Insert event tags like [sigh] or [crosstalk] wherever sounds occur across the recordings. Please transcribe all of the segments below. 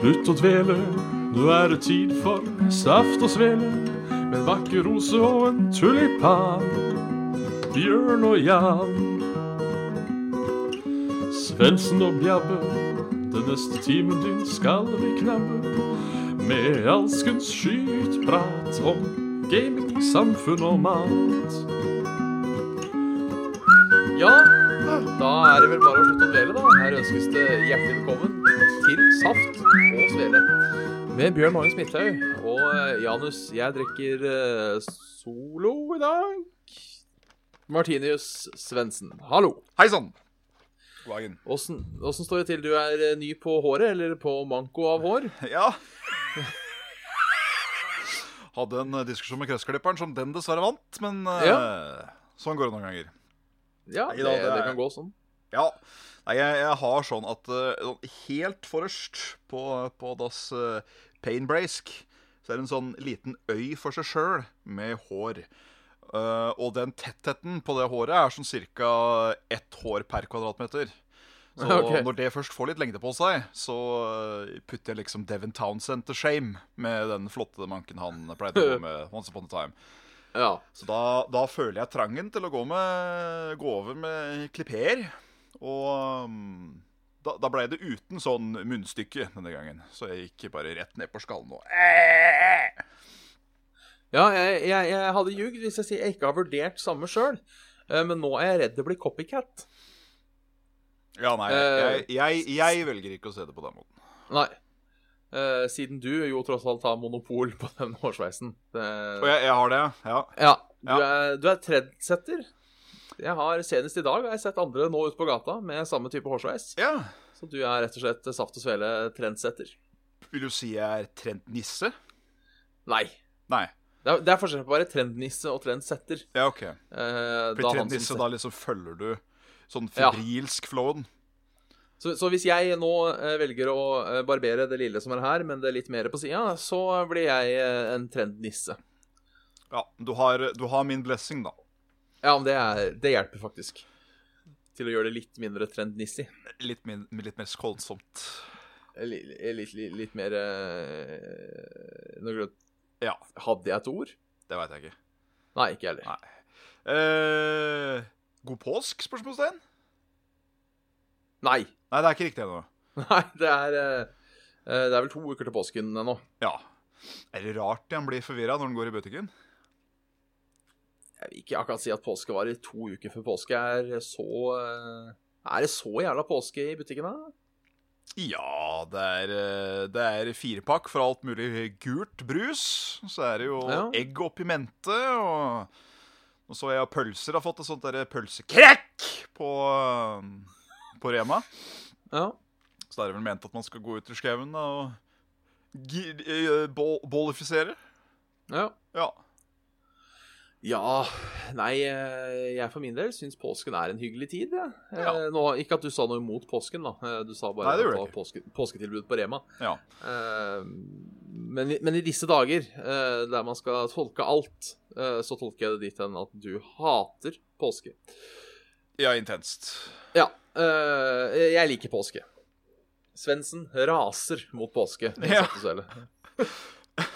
Slutt å dvele, nå er det tid for saft og svele. Med en vakker rose og en tulipan. Bjørn og Jan. Svendsen og Bjabbe, den neste timen din skal vi knabbe. Med alskens skytprat om gaming, samfunn og mat. Ja, da er det vel bare å slutte å dvele, da. Her ønskes det hjertelig velkommen til Saft og Svele. Med Bjørn Magnus Midthaug og eh, Janus. Jeg drikker eh, solo i dag. Martinius Svendsen, hallo. Hei sann! Dagen. Åssen åssen står det til? Du er eh, ny på håret, eller på manko av hår? Ja. Hadde en eh, diskusjon med kretsklipperen som den dessverre vant, men eh, sånn går det noen ganger. Ja, Nei det, da, det det er- kan gå sånn. Ja. Nei, jeg, jeg har sånn at eh, sånn helt forrest på, på dass eh, painbrask, så er det en sånn liten øy for seg sjøl med hår. Eh, og den tettheten på det håret er sånn ca. ett hår per kvadratmeter. Så Ok. når det først får litt lengde på seg, så eh, putter jeg liksom Devin Townsend til shame med den flotte manken han pleide å gå med once upon a time. Ja. Så da, da føler jeg trangen til å gå, med, gå over med klipper. Og um, da, da blei det uten sånn munnstykke denne gangen. Så jeg gikk bare rett ned på skallen og Eh! Ja, jeg, jeg, jeg hadde ljugd hvis jeg sier jeg ikke har vurdert samme sjøl. Eh, Men nå er jeg redd det blir copycat. Ja, nei, jeg, jeg, jeg velger ikke å se det på den måten. Nei. Eh, siden du jo tross alt har monopol på den hårsveisen. Det... Og jeg, jeg har det, ja. Ja. Du Ja. er, du er trendsetter. Jeg har Senest i dag har jeg sett andre nå ute på gata med samme type hårsveis. ja. Så du er rett og slett Saft og Svele trendsetter. Vil du si jeg er trent nisse? Nei. Nei. Det er, det er forskjell på å være trendnisse og trendsetter. Ja, OK. Eh, da For han som trent nisse, set- da liksom følger du sånn Ja. febrilsk flowen? Så, så hvis jeg nå eh, velger å eh, barbere det lille som er her, men det litt mer på sida, så blir jeg eh, en trendnisse. Ja. Du har, du har min blessing, da. Ja, men det, er, det hjelper faktisk. Til å gjøre det litt mindre trendnissig. Litt, min, litt mer skånsomt. Litt, litt, litt, litt mer eh, noe grunn- Ja. Hadde jeg et ord? Det veit jeg ikke. Nei, ikke jeg heller. Nei. Eh, god påsk, spørsmålstegn? Nei. [laughs] Nei, det er ikke riktig ennå. Nei, det er eh, eh, Det er vel to uker til påsken ennå. Ja. Er det rart han blir forvirra når han går i butikken? Jeg vil ikke akkurat si at påske var i to uker før påske. Er så eh, Er det så jævla påske i butikken, da? Ja, det er, eh, det er firepakk for alt mulig gult brus. Så er det jo Ja. egg oppi mente, og, og så har jeg pølser har fått et sånt derre pølsekrekk på, eh, på Rema. Ja. Så da er det vel ment at man skal gå ut i skauen da, og gi- eh, bol- bollifisere. ja. Ja. Ja Nei, eh, jeg for min del syns påsken er en hyggelig tid. jeg. Eh, Ja. Nå, ikke at du sa noe imot påsken, da. Eh, Du sa bare Nei, det at gjorde var påske, påsketilbud på Rema. ja. Eh, Men, i- men i disse dager, eh, der man skal tolke alt, eh, så tolker jeg det dit hen at du hater påske. Ja, intenst. Ja. eh, Jeg liker påske. Svendsen raser mot påske. med [laughs] Ja. Saft og Svele.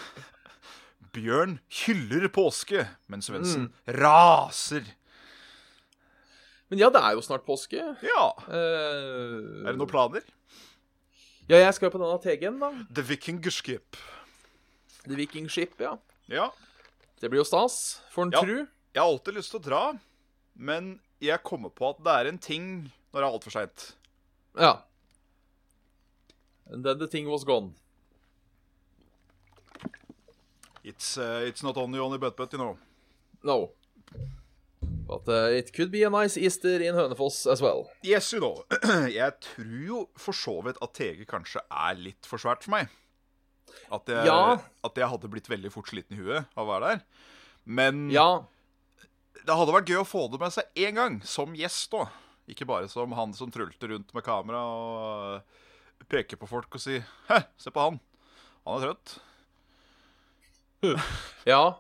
Bjørn hyller påske, men Svendsen Mm. raser. Men ja, det er jo snart påske. Eh, Ja. Er Er det noen planer? Ja, jeg skal jo på denne TG-en, da. The Vikingskip. The Viking Ship, ja. Ja. Det blir jo stas, får en Ja. tru. Jeg har alltid lyst til å dra, men jeg kommer på at det er en ting når det er altfor seint. Ja. And then the thing was gone. It's, uh, it's not only on the butt butt, you know. No. But uh, it could be a nice Easter in Hønefoss as well. Yes, you know. [clears throat] Jeg tror jo for så vidt at TG kanskje er litt for svært for meg. At jeg, Ja. at jeg hadde blitt veldig fort sliten i huet av å være der. Men Ja. Det hadde vært gøy å få det med seg én gang, som gjest òg. Ikke bare som han som trulter rundt med kamera og peker på folk og sier 'Hæ, se på han. Han er trøtt'. ja.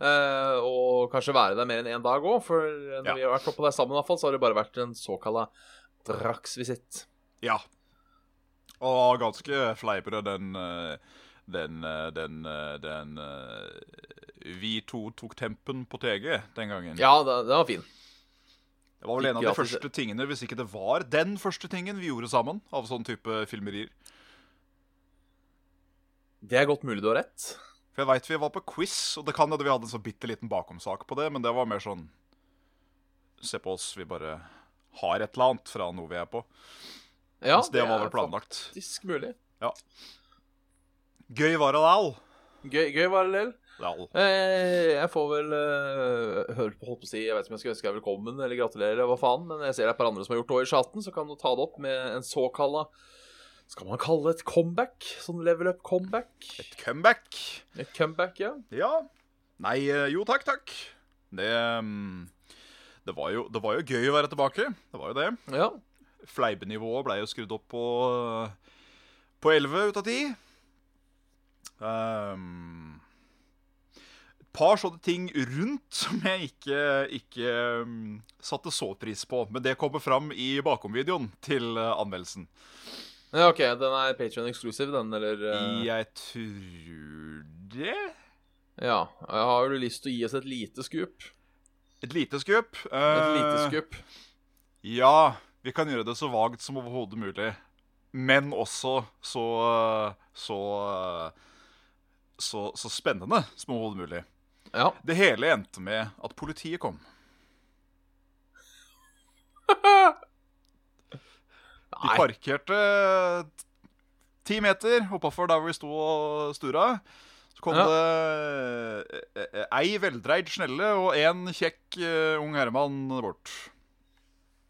Eh, og kanskje være der mer enn én en dag òg, for når Ja. vi har vært oppå der sammen, i hvert fall, så har det bare vært en såkalla draksvisitt. Ja. Og var ganske fleiprød, den eh, den, eh, den, eh, den eh, Vi to tok tempen på TG den gangen. Ja, det, det var fin. Det var vel en av de gratis- første tingene, hvis ikke det var den første tingen vi gjorde sammen. Av sånn type filmerier. Det er godt mulig du har rett. For jeg veit vi var på quiz, og det kan hende vi hadde en så bitte liten bakomsak på det, men det var mer sånn Se på oss, vi bare har et eller annet fra noe vi er på. Ja, så det, var er vel planlagt. Faktisk mulig. Gøy var det all. Gøy, gøy var det del. Det er all. Eh, Jeg får vel eh, høre på, holdt på å si, jeg vet ikke om jeg skal ønske deg velkommen eller gratulere, eller hva faen, men jeg ser det er et par andre som har gjort det òg i chatten, så kan du ta det opp med en såkalla Skal man kalle det et comeback? Sånn level up comeback? Et comeback. Et comeback, ja. Ja. Nei, eh, jo takk, takk. Det mm, det var, jo, det var jo gøy å være tilbake. Det var jo det. ja. Fleibenivået ble jo skrudd opp på eh, På 11 ut av 10. Ehm, et par sånne ting rundt som jeg ikke, ikke mm, satte så pris på. Men det kommer fram i bakom-videoen til eh, anmeldelsen. Ja, OK, den er Patreon exclusive, den, eller eh, Jeg tror det Ja. Har du lyst til å gi oss et lite skup? Et lite skup. Et Eh, lite skup? Ja, vi kan gjøre det så vagt som overhodet mulig. Men også så så, så, så spennende som overhodet mulig. Ja. Det hele endte med at politiet kom. De Nei. parkerte ti meter oppafor der hvor vi sto og stura. Så kom Ja. det eh, ei veldreid snelle og en kjekk eh, ung herremann bort.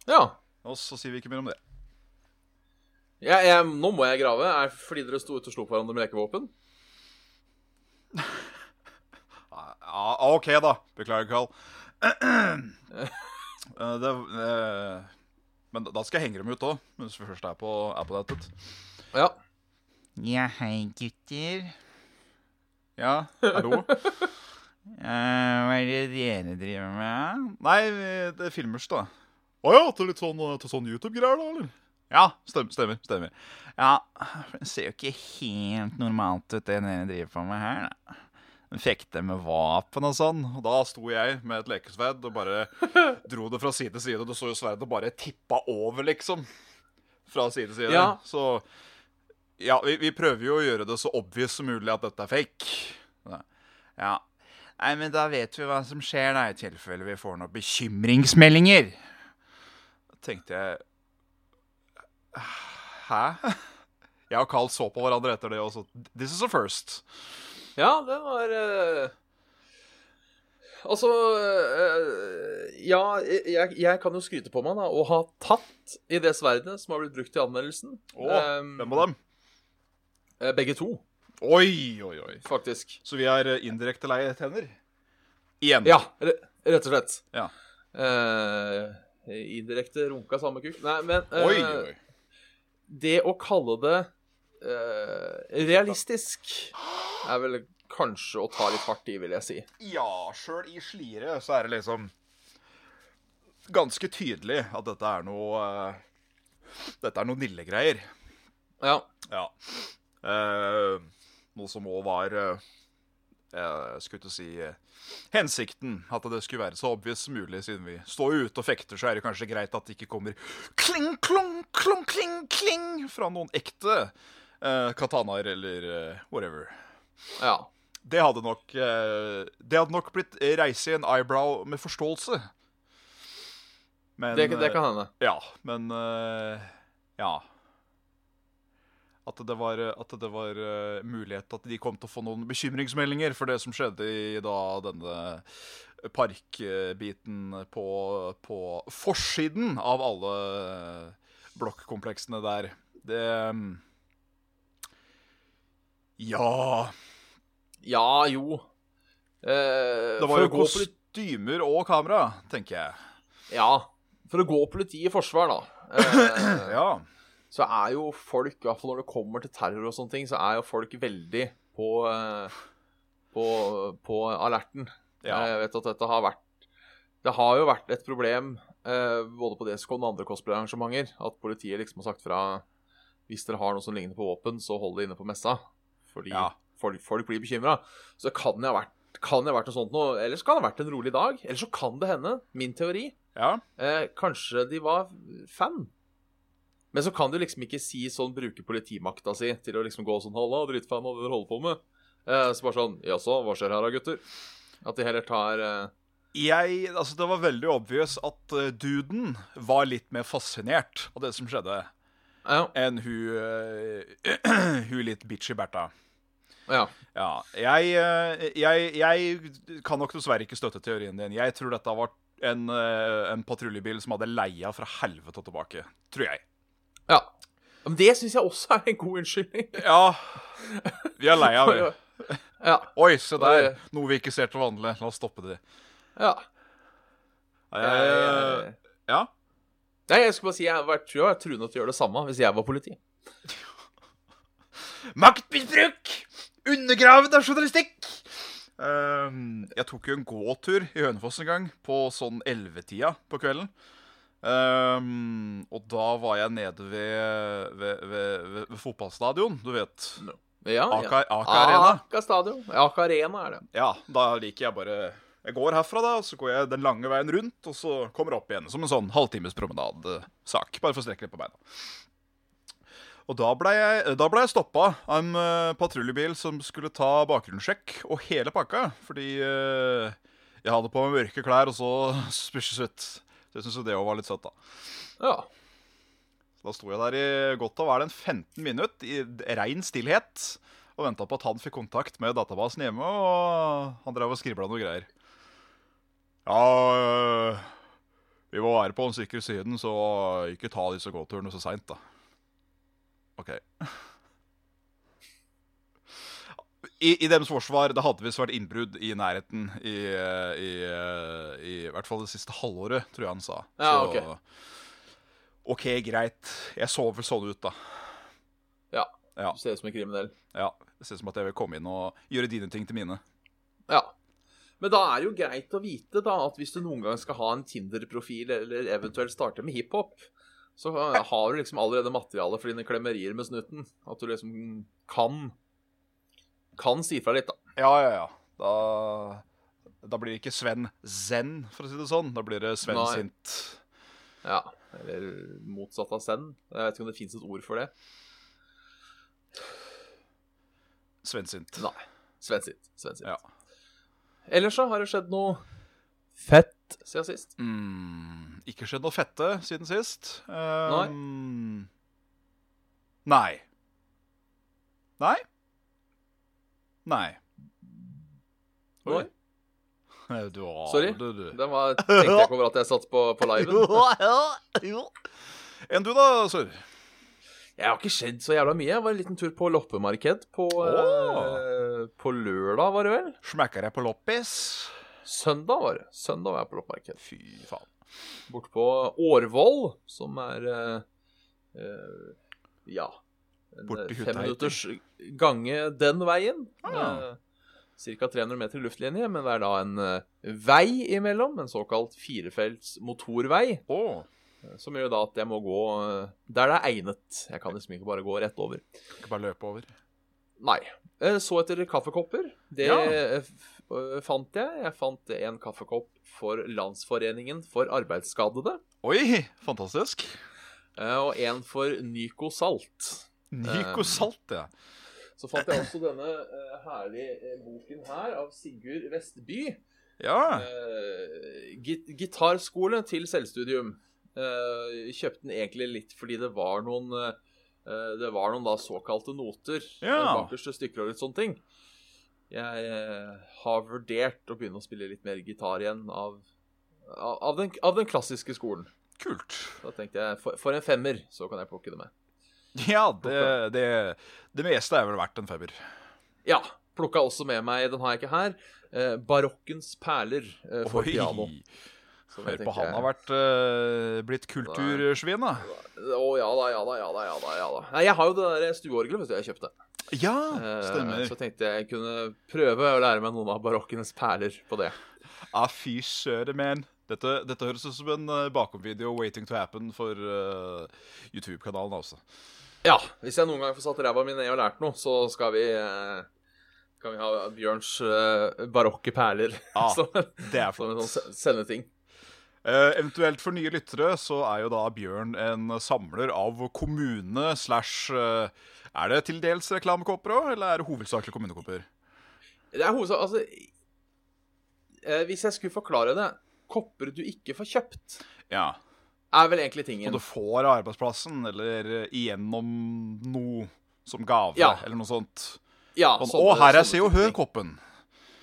ja. Og så sier vi ikke mer om det. Jeg, jeg, nå må jeg grave. Er det fordi dere sto ute og slo på hverandre med lekevåpen? Ja, Ah, OK, da. Beklager, Carl. Eh, det, eh, men da skal jeg henge dem ut òg, mens vi først er på, er på nettet. Ja. Ja, hei gutter. Ja, hallo? [laughs] Eh, hva er det dere driver med? Nei, vi- det er filmers, da. Å ja, til litt sånn, eh, til sånn YouTube-greier, da, eller? Ja, stem, stemmer. stemmer. Ja, det ser jo ikke helt normalt ut det dere driver på med her, da. Den Fekte med vapen og sånn. Og da sto jeg med et lekesverd og bare dro det fra side til side. Og du så jo sverdet bare tippa over, liksom. Fra side til side. Ja. Så Ja, vi, vi prøver jo å gjøre det så obvious som mulig at dette er fake. Ja. Nei, men da vet vi hva som skjer, da, i tilfelle vi får noen bekymringsmeldinger. tenkte jeg Hæ? Jeg og Carl så på hverandre etter det og så This is a first. Ja, det var eh, Altså eh, Ja, jeg, jeg kan jo skryte på meg da å ha tatt i det sverdet som har blitt brukt i anmeldelsen. Å, Ehm, hvem av dem? eh, Begge to, Oi, oi, oi. faktisk. Så vi er eh, indirekte lei tenner? Igjen. Ja, re rett og slett. Mm. Ja. Eh, indirekte runka samme kuk. Nei, men eh, Oi, oi. det å kalle det eh, realistisk er vel kanskje å ta litt hardt i, vil jeg si. Ja, sjøl i slire så er det liksom ganske tydelig at dette er noe eh, Dette er noe Nille-greier. Ja. Ja. Eh, noe som òg var eh, eh, Skulle til å si eh, hensikten. At det skulle være så obvious som mulig, siden vi står jo ute og fekter, så er det kanskje greit at det ikke kommer kling, klong, klong, kling, kling fra noen ekte eh, katanaer eller eh, whatever. ja. Det hadde nok eh, Det hadde nok blitt reise i en eyebrow med forståelse. Men Det, det eh, kan hende. ja, men eh, Ja. At det var, at det var eh, mulighet at de kom til å få noen bekymringsmeldinger for det som skjedde i da denne parkbiten på, på forsiden av alle blokkompleksene der. Det mm, Ja Ja, jo. Eh, Det for var å jo gå poli- kostymer og kamera, tenker [clears throat] jeg. Ja. For å gå politiet i forsvar, da. Eh, Ja. så er jo folk, i hvert fall når det kommer til terror og sånne ting, så er jo folk veldig på, eh, på, på alerten. Ja. Eh, Jeg vet at dette har vært Det har jo vært et problem eh, både på DSK og andre cosplay-arrangementer at politiet liksom har sagt fra hvis dere har noe som ligner på våpen, så hold det inne på messa. Fordi Ja. folk, folk blir bekymra. Så det kan det ha vært, kan det ha vært noe sånt noe. Ellers kan det ha vært en rolig dag. Eller så kan det hende, min teori, Ja. eh, kanskje de var fan. Men så kan du liksom ikke si sånn, bruke politimakta si til å liksom gå sånn 'Halla, drittfan av det dere holder på med'. Eh, så bare sånn 'Jaså, hva skjer her da, gutter?' At de heller tar eh, Jeg, altså Det var veldig obvious at eh, duden var litt mer fascinert av det som skjedde, Ja. enn hun, eh, [clears throat] hun litt bitchy Bertha. ja. Ja, jeg, eh, jeg, jeg kan nok dessverre ikke støtte teorien din. Jeg tror dette var en, eh, en patruljebil som hadde leia fra helvete og tilbake. Tror jeg. ja. Men det syns jeg også er en god unnskyldning. Ja, vi er leia, vi. [laughs] [laughs] ja. Oi, se der. Noe vi ikke ser til vanlig. La oss stoppe det. ja. Jeg, Eh, ja. Nei, jeg skulle bare si jeg har vært- tror jeg har vært truende til å gjøre det samme hvis jeg var politi. Maktmisbruk! Undergravd av journalistikk! Ehm, jeg tok jo en gåtur i Hønefoss en gang, på sånn 11-tida på kvelden. Ehm, og da var jeg nede ved, ved, ved, ved, ved fotballstadion, du vet. Ja, ja. Aker Arena. Aka stadion. Aka Arena er det. Ja, da liker jeg bare Jeg går herfra, da, og så går jeg den lange veien rundt, og så kommer jeg opp igjen som en sånn halvtimes promenadesak. Bare for å strekke litt på beina. Og da blei jeg, da ble jeg stoppa av en eh, patruljebil som skulle ta bakgrunnssjekk og hele pakka, fordi eh, jeg hadde på meg mørke klær og så [laughs] spysjesutt. Så jeg syntes jo det òg var litt søtt, da. Ja. Da sto jeg der i godt og vel en 15 minutt i rein stillhet og venta på at han fikk kontakt med databasen hjemme, og han drev og skribla noe greier. Ja øh, Vi må være på den sikre siden, så ikke ta disse gåturene så seint, da. OK. I, I deres forsvar, det hadde visst vært innbrudd i nærheten i, eh, i, eh, i, i hvert fall det siste halvåret, tror jeg han sa. Ja, Så- ok. OK, greit. Jeg så vel sånn ut, da. ja. Ja. Du ser ut som en kriminell. Ja, Det ser ut som at jeg vil komme inn og gjøre dine ting til mine. Ja. Men da er det jo greit å vite da at hvis du noen gang skal ha en Tinder-profil, eller eventuelt starte med hiphop, så eh, har du liksom allerede materiale for dine klemmerier med snuten. At du liksom kan Kan si fra litt, da. Ja, ja, ja. Da, da blir det ikke Sven Zen, for å si det sånn. Da blir det Sven Nei. Sint. Ja. Eller motsatt av send. Jeg vet ikke om det fins et ord for det. Sven Sint. Nei. Svensint. Svensint. Ja. Ellers så har det skjedd noe fett siden sist. Mm, ikke skjedd noe fette siden sist. Um, nei. Nei. Nei. Oi. Oi. Du, å, Sorry. Du, du. Den var, tenkte jeg ikke over at jeg satt på, på [laughs] liven. Enn du da, Sør? Jeg har ikke skjedd så jævla mye. Jeg var en liten tur på loppemarked på, Åh. eh, på lørdag, var det vel? Smekker jeg på loppis? Søndag var det. Søndag var jeg på loppemarked. Fy faen. Borte på Årvoll, som er eh, eh, Ja. En Borte i eh, hytta, femminutters gange den veien. Eh, Ah. Ca. 300 meter i luftlinje, men det er da en eh, vei imellom. En såkalt firefelts motorvei. eh, Å. Som gjør da at jeg må gå eh, der det er egnet. Jeg kan liksom ikke bare gå rett over. Skal bare løpe over. Nei. Eh, Så etter kaffekopper. Det Ja. eh, f- eh, fant jeg. Jeg fant en kaffekopp for Landsforeningen for arbeidsskadede. Oi, fantastisk. eh, Og en for Nyco Salt. Nico Salt, ja. Så fant jeg også denne eh, herlige eh, boken her av Sigurd Vestby. Ja. Eh, git gitarskole til selvstudium. Eh, kjøpte den egentlig litt fordi det var noen eh, eh, Det var noen da såkalte noter. Ja. eh, Bakerste stykker og litt sånne ting. Jeg eh, har vurdert å begynne å spille litt mer gitar igjen av, av, av, den, av den klassiske skolen. Kult. Da tenkte jeg for, for en femmer, så kan jeg plukke det med. [laughs] Ja, det, det, det meste er vel verdt en femmer. Ja. Plukka også med meg, den har jeg ikke her, eh, 'Barokkens perler' eh, for Oi. piano. som jeg Hør på tenker han er- har vært eh, blitt kultursvin, da. Å ja da, ja da, ja da. ja da, ja da. Nei, Jeg har jo det der stueorgelet vet du, jeg kjøpte. Ja, Eh, stemmer. Så tenkte jeg jeg kunne prøve å lære meg noen av barokkenes perler på det. Ah, fy søren, man. Dette, dette høres ut som en eh, bakomvideo waiting to happen for eh, YouTube-kanalen også. Ja, hvis jeg noen gang får satt ræva mi ned og lært noe, så skal vi eh, Kan vi ha Bjørns eh, barokke perler [laughs] Ja, [laughs] som, Det er som en flott. sånn se- sendeting. Eh, eventuelt for nye lyttere så er jo da Bjørn en samler av kommune slash eh, Er det til dels reklamekopper òg, eller er det hovedsakelig kommunekopper? Det er hovedsak... Altså eh, Hvis jeg skulle forklare det Kopper du ikke får kjøpt, Ja. er vel egentlig tingen. Og du får av arbeidsplassen, eller eh, igjennom noe som gave, Ja. eller noe sånt. Ja, Sånn, sånne- å, sånne her er Se og type ting. Hør-koppen!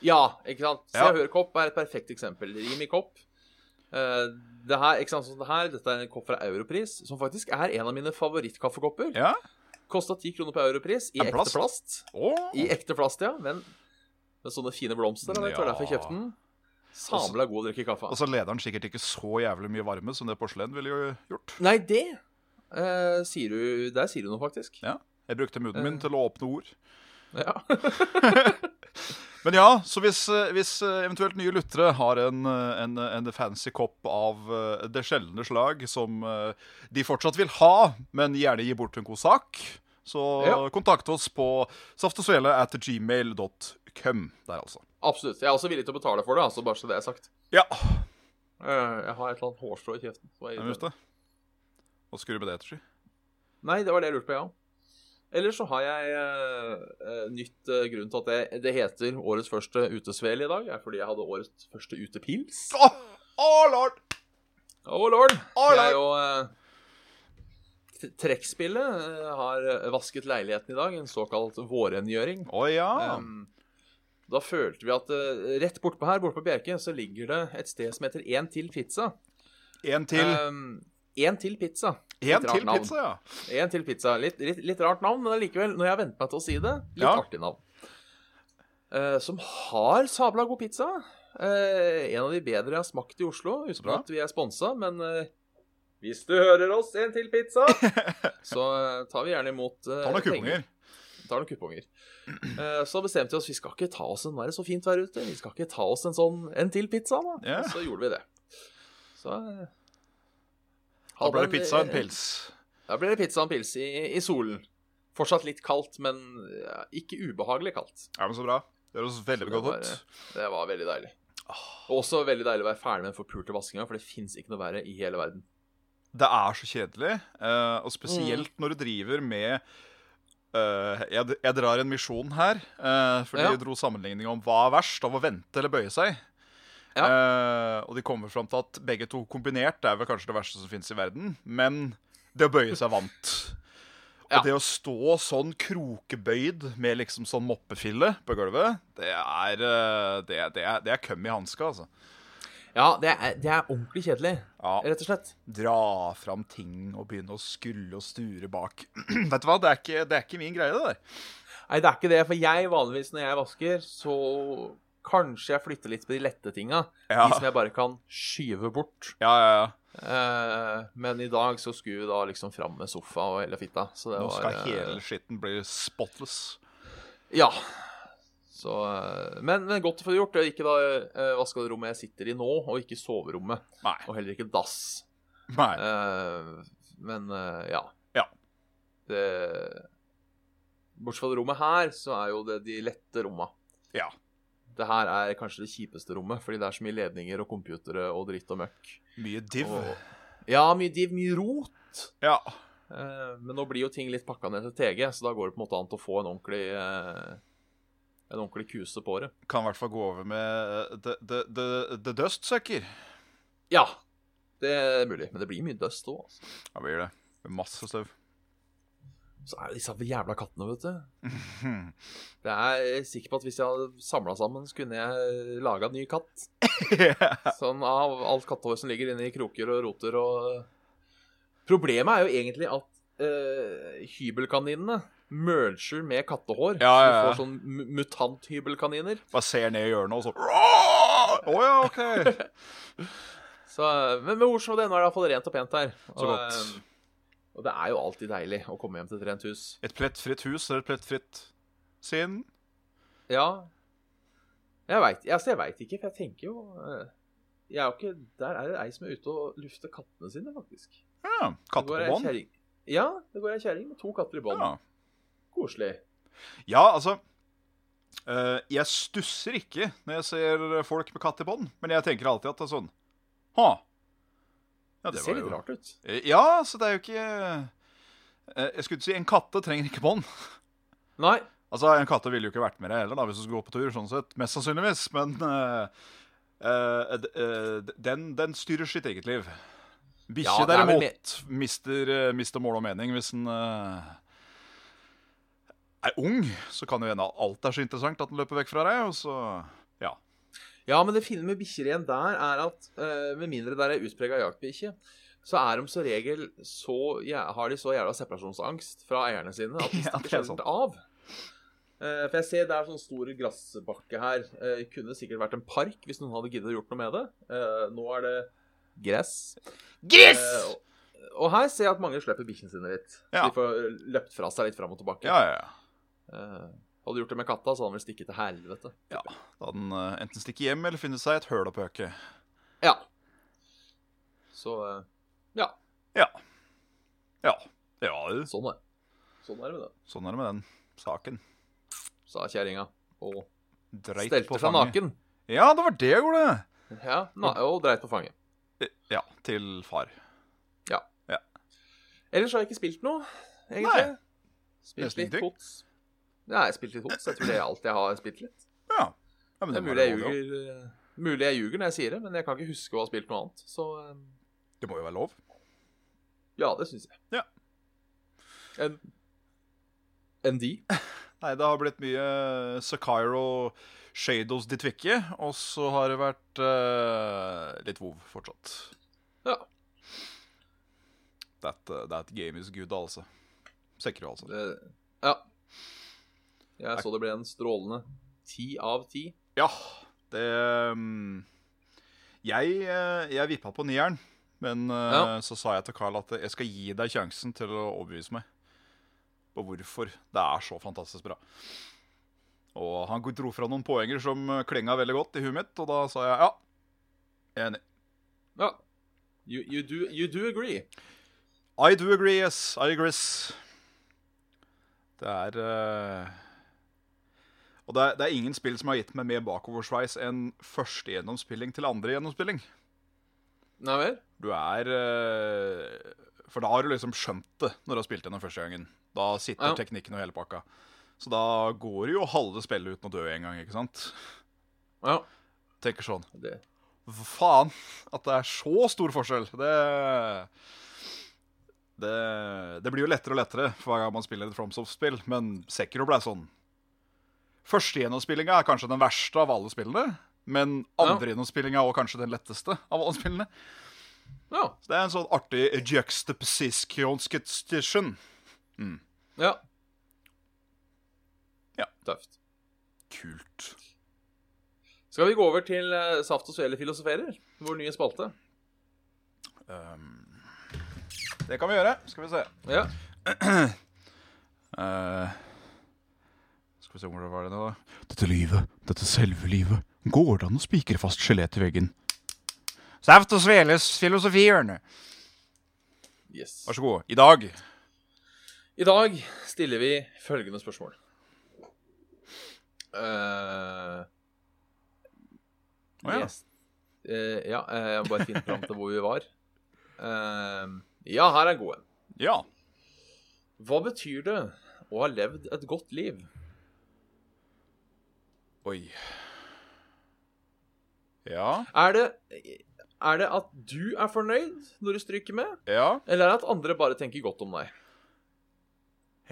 Ja, ikke sant. Se Ja. og hør-kopp er et perfekt eksempel. Rim i kopp. Eh, det her, ikke sant, sånn det her, Dette er en kopp fra Europris, som faktisk er en av mine favorittkaffekopper. Ja. Kosta ti kroner på Europris i Er det ekte plast? plast. Å, I ekte plast, ja. Men med sånne fine blomster. Jeg vet, det var Ja. derfor jeg kjøpte den. Sabla god å drikke kaffe. av. altså leder den sikkert ikke så jævlig mye varme som det porselen ville jo gjort. Nei, det eh, sier du Der sier du noe, faktisk. Ja. Jeg brukte munnen Eh. min til å åpne ord. Ja. Men ja, så hvis, eh, hvis eh, eventuelt nye lyttere har en, eh, en, eh, en fancy kopp av eh, det sjeldne slag som eh, de fortsatt vil ha, men gjerne gi bort til en god sak, så Ja. kontakt oss på saftogsvele at gmail.com der, altså. Absolutt. Jeg er også villig til å betale for det, altså, bare så det er sagt. Ja, Eh, jeg har et eller annet hårstrå i kjeften. som er jeg visste det. Hva skulle du med det til? Nei, det var det jeg lurte på, ja. Ellers så har jeg eh, eh, nytt eh, grunn til at det, det heter årets første utesvel i dag, er fordi jeg hadde årets første utepils. Å, å, lord! Å, lord! Å, Jeg er lord! jo eh, t- Trekkspillet eh, har eh, vasket leiligheten i dag, en såkalt vårrengjøring. Å ja. Um, da følte vi at eh, rett bortpå her, bortpå Bjerke, så ligger det et sted som heter En til pizza. En til, Um, en til pizza. en rart til navn. pizza, ja. En til pizza. Litt, litt, litt rart navn, men allikevel, når jeg har vent meg til å si det, litt Ja. artig navn. Eh, som har sabla god pizza. Eh, en av de bedre jeg har smakt i Oslo, uten bra. at vi er sponsa, men eh, hvis du hører oss, en til [laughs] pizza, så eh, tar vi gjerne imot eh, Ta noen penger. kuponger. Tar noen kuponger. Eh, så bestemte vi oss vi skal ikke ta oss en Nå er det så fint vær ute, vi skal ikke ta oss en sånn en til pizza, da. Ja. Så gjorde vi det. Så eh, Da ble hadde det pizza og en eh, pils. da blir det pizza og en pils i, i solen. Fortsatt litt kaldt, men ja, ikke ubehagelig kaldt. Ja, men så bra. Det høres veldig det godt var- ut. Det var veldig deilig. Og også veldig deilig å være ferdig med den forpulte vaskinga, for det fins ikke noe verre i hele verden. Det er så kjedelig, eh, og spesielt Mm. når du driver med eh, jeg, jeg drar en misjon her, eh, fordi Ja. jeg dro sammenligning om hva er verst av å vente eller bøye seg. Eh, og de kommer fram til at begge to kombinert er vel kanskje det verste som fins i verden, men det å bøye seg vant. Og Ja. det å stå sånn krokebøyd med liksom sånn moppefille på gulvet, det er eh, Det, det er, det er køm i hanska, altså. Ja, det er, det er ordentlig kjedelig, Ja. rett og slett. dra fram ting og begynne å skrulle og sture bak. [clears throat] Vet du hva, det er ikke, det er ikke min greie, det der. Nei, det er ikke det, for jeg vanligvis når jeg vasker, så kanskje jeg flytter litt på de lette tinga. Ja. De som jeg bare kan skyve bort. Ja, ja, ja. Eh, men i dag så skulle vi da liksom fram med sofa og hele fitta. Så det Nå var, skal eh, hele skitten bli spotless. Ja. Så, eh, men, men godt å få det gjort. Ikke da eh, vaskerommet jeg sitter i nå, og ikke soverommet. Nei. Og heller ikke dass. Nei. Eh, men eh, ja. Ja. Det, bortsett fra det rommet her, så er jo det de lette romma. Ja. Det her er kanskje det kjipeste rommet, fordi det er så mye ledninger og computere og dritt og møkk. Mye div. Og, ja, mye div, mye rot. Ja. Eh, Men nå blir jo ting litt pakka ned til TG, så da går det på en måte an til å få en ordentlig eh, En ordentlig kuse på det. Kan i hvert fall gå over med the, the, the, the dust sucker. Ja, det er mulig. Men det blir mye dust òg, altså. Ja, blir det. Med Masse støv. Så er det disse jævla kattene, vet du. Hmm. Det er jeg er sikker på at hvis jeg hadde samla sammen, så kunne jeg laga en ny [laughs] katt. Sånn av alt kattehår som ligger inne i kroker og roter og Problemet er jo egentlig at eh, hybelkaninene merger med kattehår. Ja, ja, Så du ja. får sånn mu- mutant-hybelkaniner. [laughs] Bare ser ned i hjørnet og så Å ja, [laughs] OK. Så, eh, men med ord som det, nå er det iallfall rent og pent her. Og, Så godt. eh, Og det er jo alltid deilig å komme hjem til et rent hus. Et plettfritt hus eller et plettfritt sinn? Ja. Jeg veit altså, jeg vet ikke, for jeg tenker jo eh, Jeg er jo ikke Der er det ei som er ute og lufter kattene sine, faktisk. Ja. Det går ei Kattebånd? kjerring- Ja, det går ei kjerring med to katter i bånd. Ja. Koselig. Ja, altså eh, Jeg stusser ikke når jeg ser folk med katt i bånd, men jeg tenker alltid at det er sånn Ha! Ja, Det, ser var litt jo- rart ut. Eh, Ja, så det er jo ikke eh, Jeg skulle ikke si en katte trenger ikke bånd. Nei. Altså, En katte ville jo ikke vært med deg heller da, hvis du skulle gå på tur, sånn sett. Mest sannsynligvis. Men eh, eh, d- eh, d- den, den styrer sitt eget liv. Bikkje, Ja, det er vel derimot, mister, eh, mister mål og mening hvis den eh, er ung. Så kan det jo hende at alt er så interessant at den løper vekk fra deg, og så Ja. Ja, men det fine med bikkjer igjen der er at eh, med mindre det er ei utprega jaktbikkje, så er de som regel så jæ- har de så jævla separasjonsangst fra eierne sine at de [laughs] Ja, stikker det er sant. sjelden av. Eh, for jeg ser det er sånn stor glassbakke her. Eh, kunne sikkert vært en park hvis noen hadde giddet å gjort noe med det. Eh, nå er det gress. Gress! Eh, og, og her ser jeg at mange slipper bikkjene sine litt. Ja. De får løpt fra seg litt fram og tilbake. Ja, ja, ja. Eh, hadde du gjort det med katta, så hadde han vel stikket til helvete. Da den eh, enten stikker hjem eller finner seg et høl å pøke. Ja. Så eh, Ja. ja, du. sånn er det. Sånn er det med det, Sånn er det med den saken. sa kjerringa. Og Dreit på stelte seg fanget. naken. Ja, det var det jeg gjorde. Eh, Ja, na og dreit på fanget. Ja, til far. Ellers har jeg ikke spilt noe, egentlig. Nei. Spilt Nesten litt ingenting. tots. Ja, jeg har spilt litt tots. Jeg tror det er alt jeg har spilt litt. Ja. ja men Det det er må mulig jeg være lov, det også. ljuger, eh, mulig jeg ljuger når jeg sier det, men jeg kan ikke huske å ha spilt noe annet. Så eh, Det må jo være lov. ja, det syns jeg. Ja. Enn enn de? Nei, det har blitt mye Sakairo Shadows de Twikke, og så har det vært eh, litt WoW fortsatt. Ja. That, eh, that game is good, altså. Sekro, altså. Det, ja. Jeg så det ble en strålende ti av ti. Ja, det mm, Jeg, eh, jeg vippa på nieren, men eh, Ja. så sa jeg til Carl at jeg skal gi deg sjansen til å overbevise meg på hvorfor det er så fantastisk bra. Og han dro fra noen poenger som klinga veldig godt i huet mitt, og da sa jeg ja. jeg er Enig. Ja. You, you, do, you do agree. I do agree, yes. I agrees. Det er eh, Og det er, det er ingen spill som har gitt meg mer bakoversveis enn første gjennomspilling til andre gjennomspilling. Nei vel? Du er eh, For da har du liksom skjønt det når du har spilt gjennom første gangen. Da sitter Ja. teknikken og hele pakka. Så da går det jo halve spillet uten å dø en gang, ikke sant? Ja. Tenker sånn Det. Hva faen? At det er så stor forskjell! Det Det, det blir jo lettere og lettere for hver gang man spiller et FromSoft-spill, men Sekiro ble sånn. Første gjennomspillinga er kanskje den verste av alle spillene, men andre gjennomspillinga er også kanskje den letteste av alle spillene. Ja. Så det er en sånn artig juxtaposition. ja. Ja. Tøft. Kult. Skal vi gå over til eh, Saft og Svele filosoferer? Vår nye spalte. Um, det kan vi gjøre. Skal vi se. Ja. Eh, skal vi se hvor det var det nå, da. Dette livet, dette selve livet, går det an å spikre fast skjelett i veggen? Saft og sveles filosofihjørne. Yes. Vær så god. I dag I dag stiller vi følgende spørsmål. Eh, Å ja. yes. Eh, ja, eh, jeg må bare finne fram til hvor vi var. Eh, ja, her er en god en. Ja. Hva betyr det å ha levd et godt liv? Oi. Ja. Er det, er det at du er fornøyd når du stryker med, Ja. eller er det at andre bare tenker godt om deg?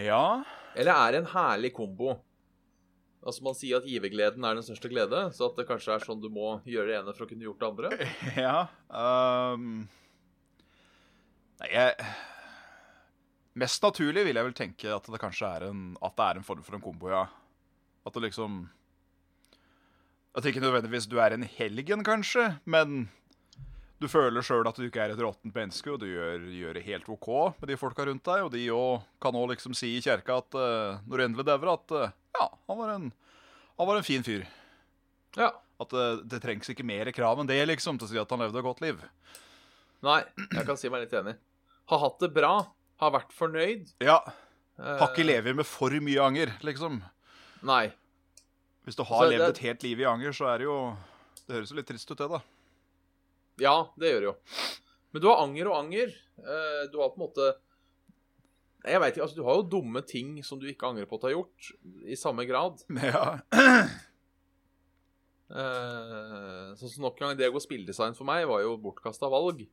Ja. Eller er det en herlig kombo? Altså Man sier at givergleden er den største glede, så at det kanskje er sånn du må gjøre det ene for å kunne gjort det andre. Ja. ehm. nei, jeg Mest naturlig vil jeg vel tenke at det kanskje er en, at det er en form for en kombo, ja. At det liksom At det ikke nødvendigvis du er en helgen, kanskje, men du føler sjøl at du ikke er et råttent menneske, og du gjør, gjør det helt OK med de folka rundt deg, og de òg kan òg liksom si i kjerka at eh, når du endelig dauer, at eh, ja, han var, en, han var en fin fyr. Ja, At det, det trengs ikke mer krav enn det, liksom, til å si at han levde et godt liv. Nei, jeg kan si meg litt enig. Ha hatt det bra har vært fornøyd. Ja. Eh, Har ikke lever med for mye anger, liksom. Nei. Hvis du har Så levd Altså, det- et helt liv i anger, så er det jo Det høres jo litt trist ut, det, da. Ja, det gjør det jo. Men du har anger og anger. Eh, Du har på en måte Nei, Jeg vet ikke, altså Du har jo dumme ting som du ikke angrer på at du har gjort, i samme grad. Ja. [clears throat] Eh, Sånn som nok en gang det å gå spilledesign for meg var jo bortkasta valg.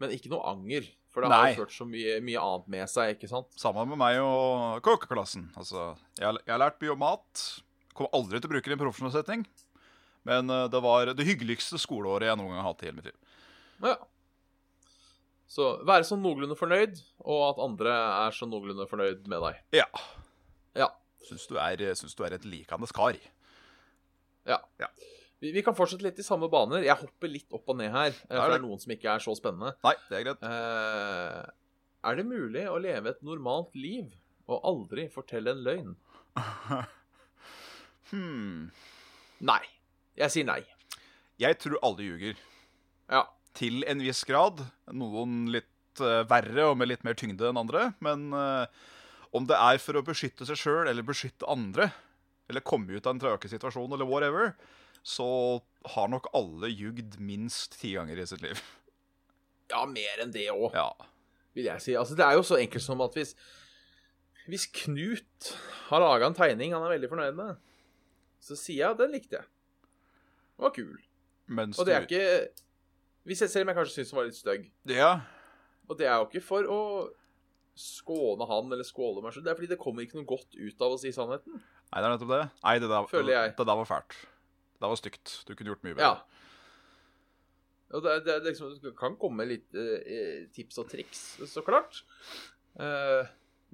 Men ikke noe anger, for det har Nei. jo ført så mye, mye annet med seg. ikke sant? Samme med meg og kokkeklassen. Altså, jeg, har- jeg har lært mye om mat. Kommer aldri til å bruke det i en profesjonell setting. Men eh, det var det hyggeligste skoleåret jeg noen gang har hatt i hele mitt liv. Ja. Så være sånn noenlunde fornøyd, og at andre er sånn noenlunde fornøyd med deg. Ja. Ja. Syns du er, syns du er et likandes kar. Vi, vi kan fortsette litt i samme baner. Jeg hopper litt opp og ned her, eh, for det er noen som ikke er så spennende. Nei, det er greit. Eh, er det mulig å leve et normalt liv og aldri fortelle en løgn? Hmm. Nei. Jeg sier nei. Jeg tror alle ljuger. Ja. Til en viss grad. Noen litt eh, verre og med litt mer tyngde enn andre. Men eh, om det er for å beskytte seg sjøl eller beskytte andre, eller komme ut av en trøkesituasjon eller whatever, så har nok alle ljugd minst ti ganger i sitt liv. Ja, mer enn det òg, Ja. vil jeg si. Altså, det er jo så enkelt som at hvis Hvis Knut har laga en tegning han er veldig fornøyd med, så sier jeg at den likte jeg. Den var kul. Mens Og det er ikke Hvis jeg selv om jeg kanskje syns den var litt stygg. du Ja. Og det er jo ikke for å skåne han eller skåle meg sjøl. Det er fordi det kommer ikke noe godt ut av å si sannheten. Nei, det er nettopp det. Nei, det der, Føler jeg. det der var fælt. Det der var stygt. Du kunne gjort mye bedre. Ja. Og det, er- det, er liksom, det kan komme litt eh, tips og triks, så klart. Eh,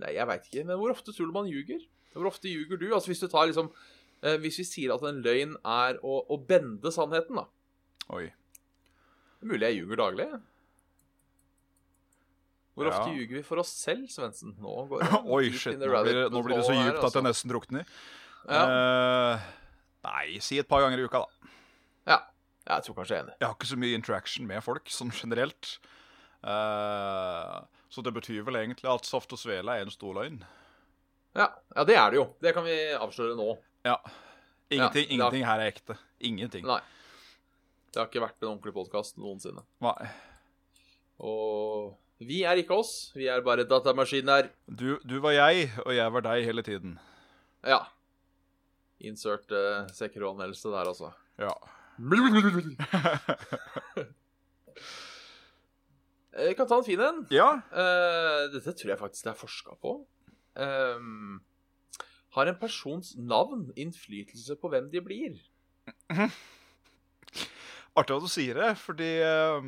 nei, jeg veit ikke. Men hvor ofte tror du man ljuger? Hvor ofte ljuger du? Altså Hvis du tar liksom eh, Hvis vi sier at en løgn er å, å bende sannheten, da. Oi. [laughs] Det er mulig jeg ljuger daglig. Hvor Ja. ofte ljuger vi for oss selv, Svendsen? Nå [laughs] går det Oi, deep shit. in the Nå blir, rabbit nå blir det så hole her, djupt at jeg altså. nesten drukner. ja. Eh, nei, si et par ganger i uka, da. ja. Jeg tror kanskje jeg er enig. Jeg har ikke så mye interaction med folk sånn generelt. Eh, så det betyr vel egentlig at saft og svele er en stor løgn. Ja. ja, det er det jo. Det kan vi avsløre nå. Ja. Ingenting, Ja, det er- ingenting her er ekte. Ingenting. Nei. Det har ikke vært en ordentlig podkast noensinne. Nei. Og vi er ikke oss. Vi er bare datamaskiner. Du, du var jeg, og jeg var deg hele tiden. Ja. Insert uh, sekkeranmeldelse der, altså. Ja. Eh, Vi kan ta en fin en. ja. Eh, dette tror jeg faktisk det er forska på. Ehm, har en persons navn innflytelse på hvem de blir? Artig at du sier det, fordi eh,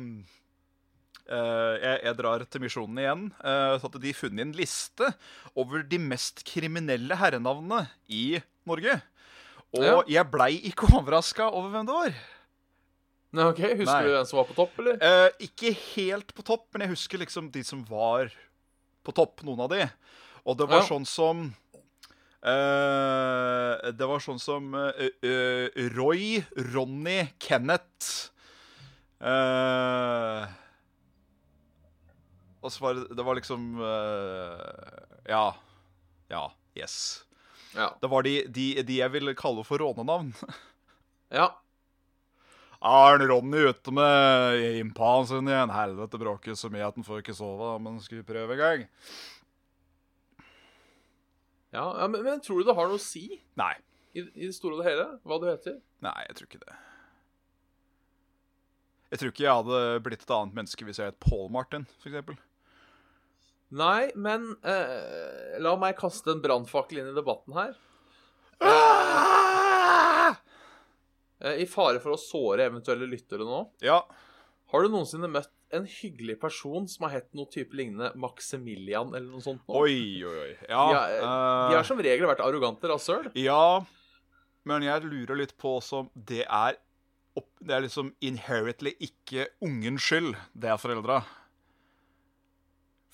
eh, jeg, jeg drar til Misjonen igjen. eh, så hadde de funnet en liste over de mest kriminelle herrenavnene i Norge. Og Ja. jeg blei ikke overraska over hvem det var. Nei, ok, Husker Nei. du hvem som var på topp, eller? Eh, ikke helt på topp, men jeg husker liksom de som var på topp, noen av de. Og det var Ja. sånn som eh, Det var sånn som eh, eh, Roy, Ronny, Kenneth eh, Og så var det Det var liksom eh, Ja. Ja. Yes. Ja. Det var de, de, de jeg ville kalle for rånenavn. ja. Arn Ronny ute med impaen sin igjen. Helvete bråket så mye at han får ikke sove, men skal vi prøve en gang? ja, ja men, men tror du det har noe å si i, Nei. i det store og det hele hva du heter? Nei, jeg tror ikke det. Jeg tror ikke jeg hadde blitt et annet menneske hvis jeg het Paul Martin, f.eks. Nei, men eh, la meg kaste en brannfakkel inn i debatten her. Ah! Eh, I fare for å såre eventuelle lyttere nå. Ja. Har du noensinne møtt en hyggelig person som har hett noe type lignende Maximilian eller noe sånt? nå? Oi, oi, oi. Ja. Ja, eh, De har som regel vært arrogante rasshøl. Ja, men jeg lurer litt på også om det er opp, Det er liksom inherently ikke ungens skyld, det er foreldra.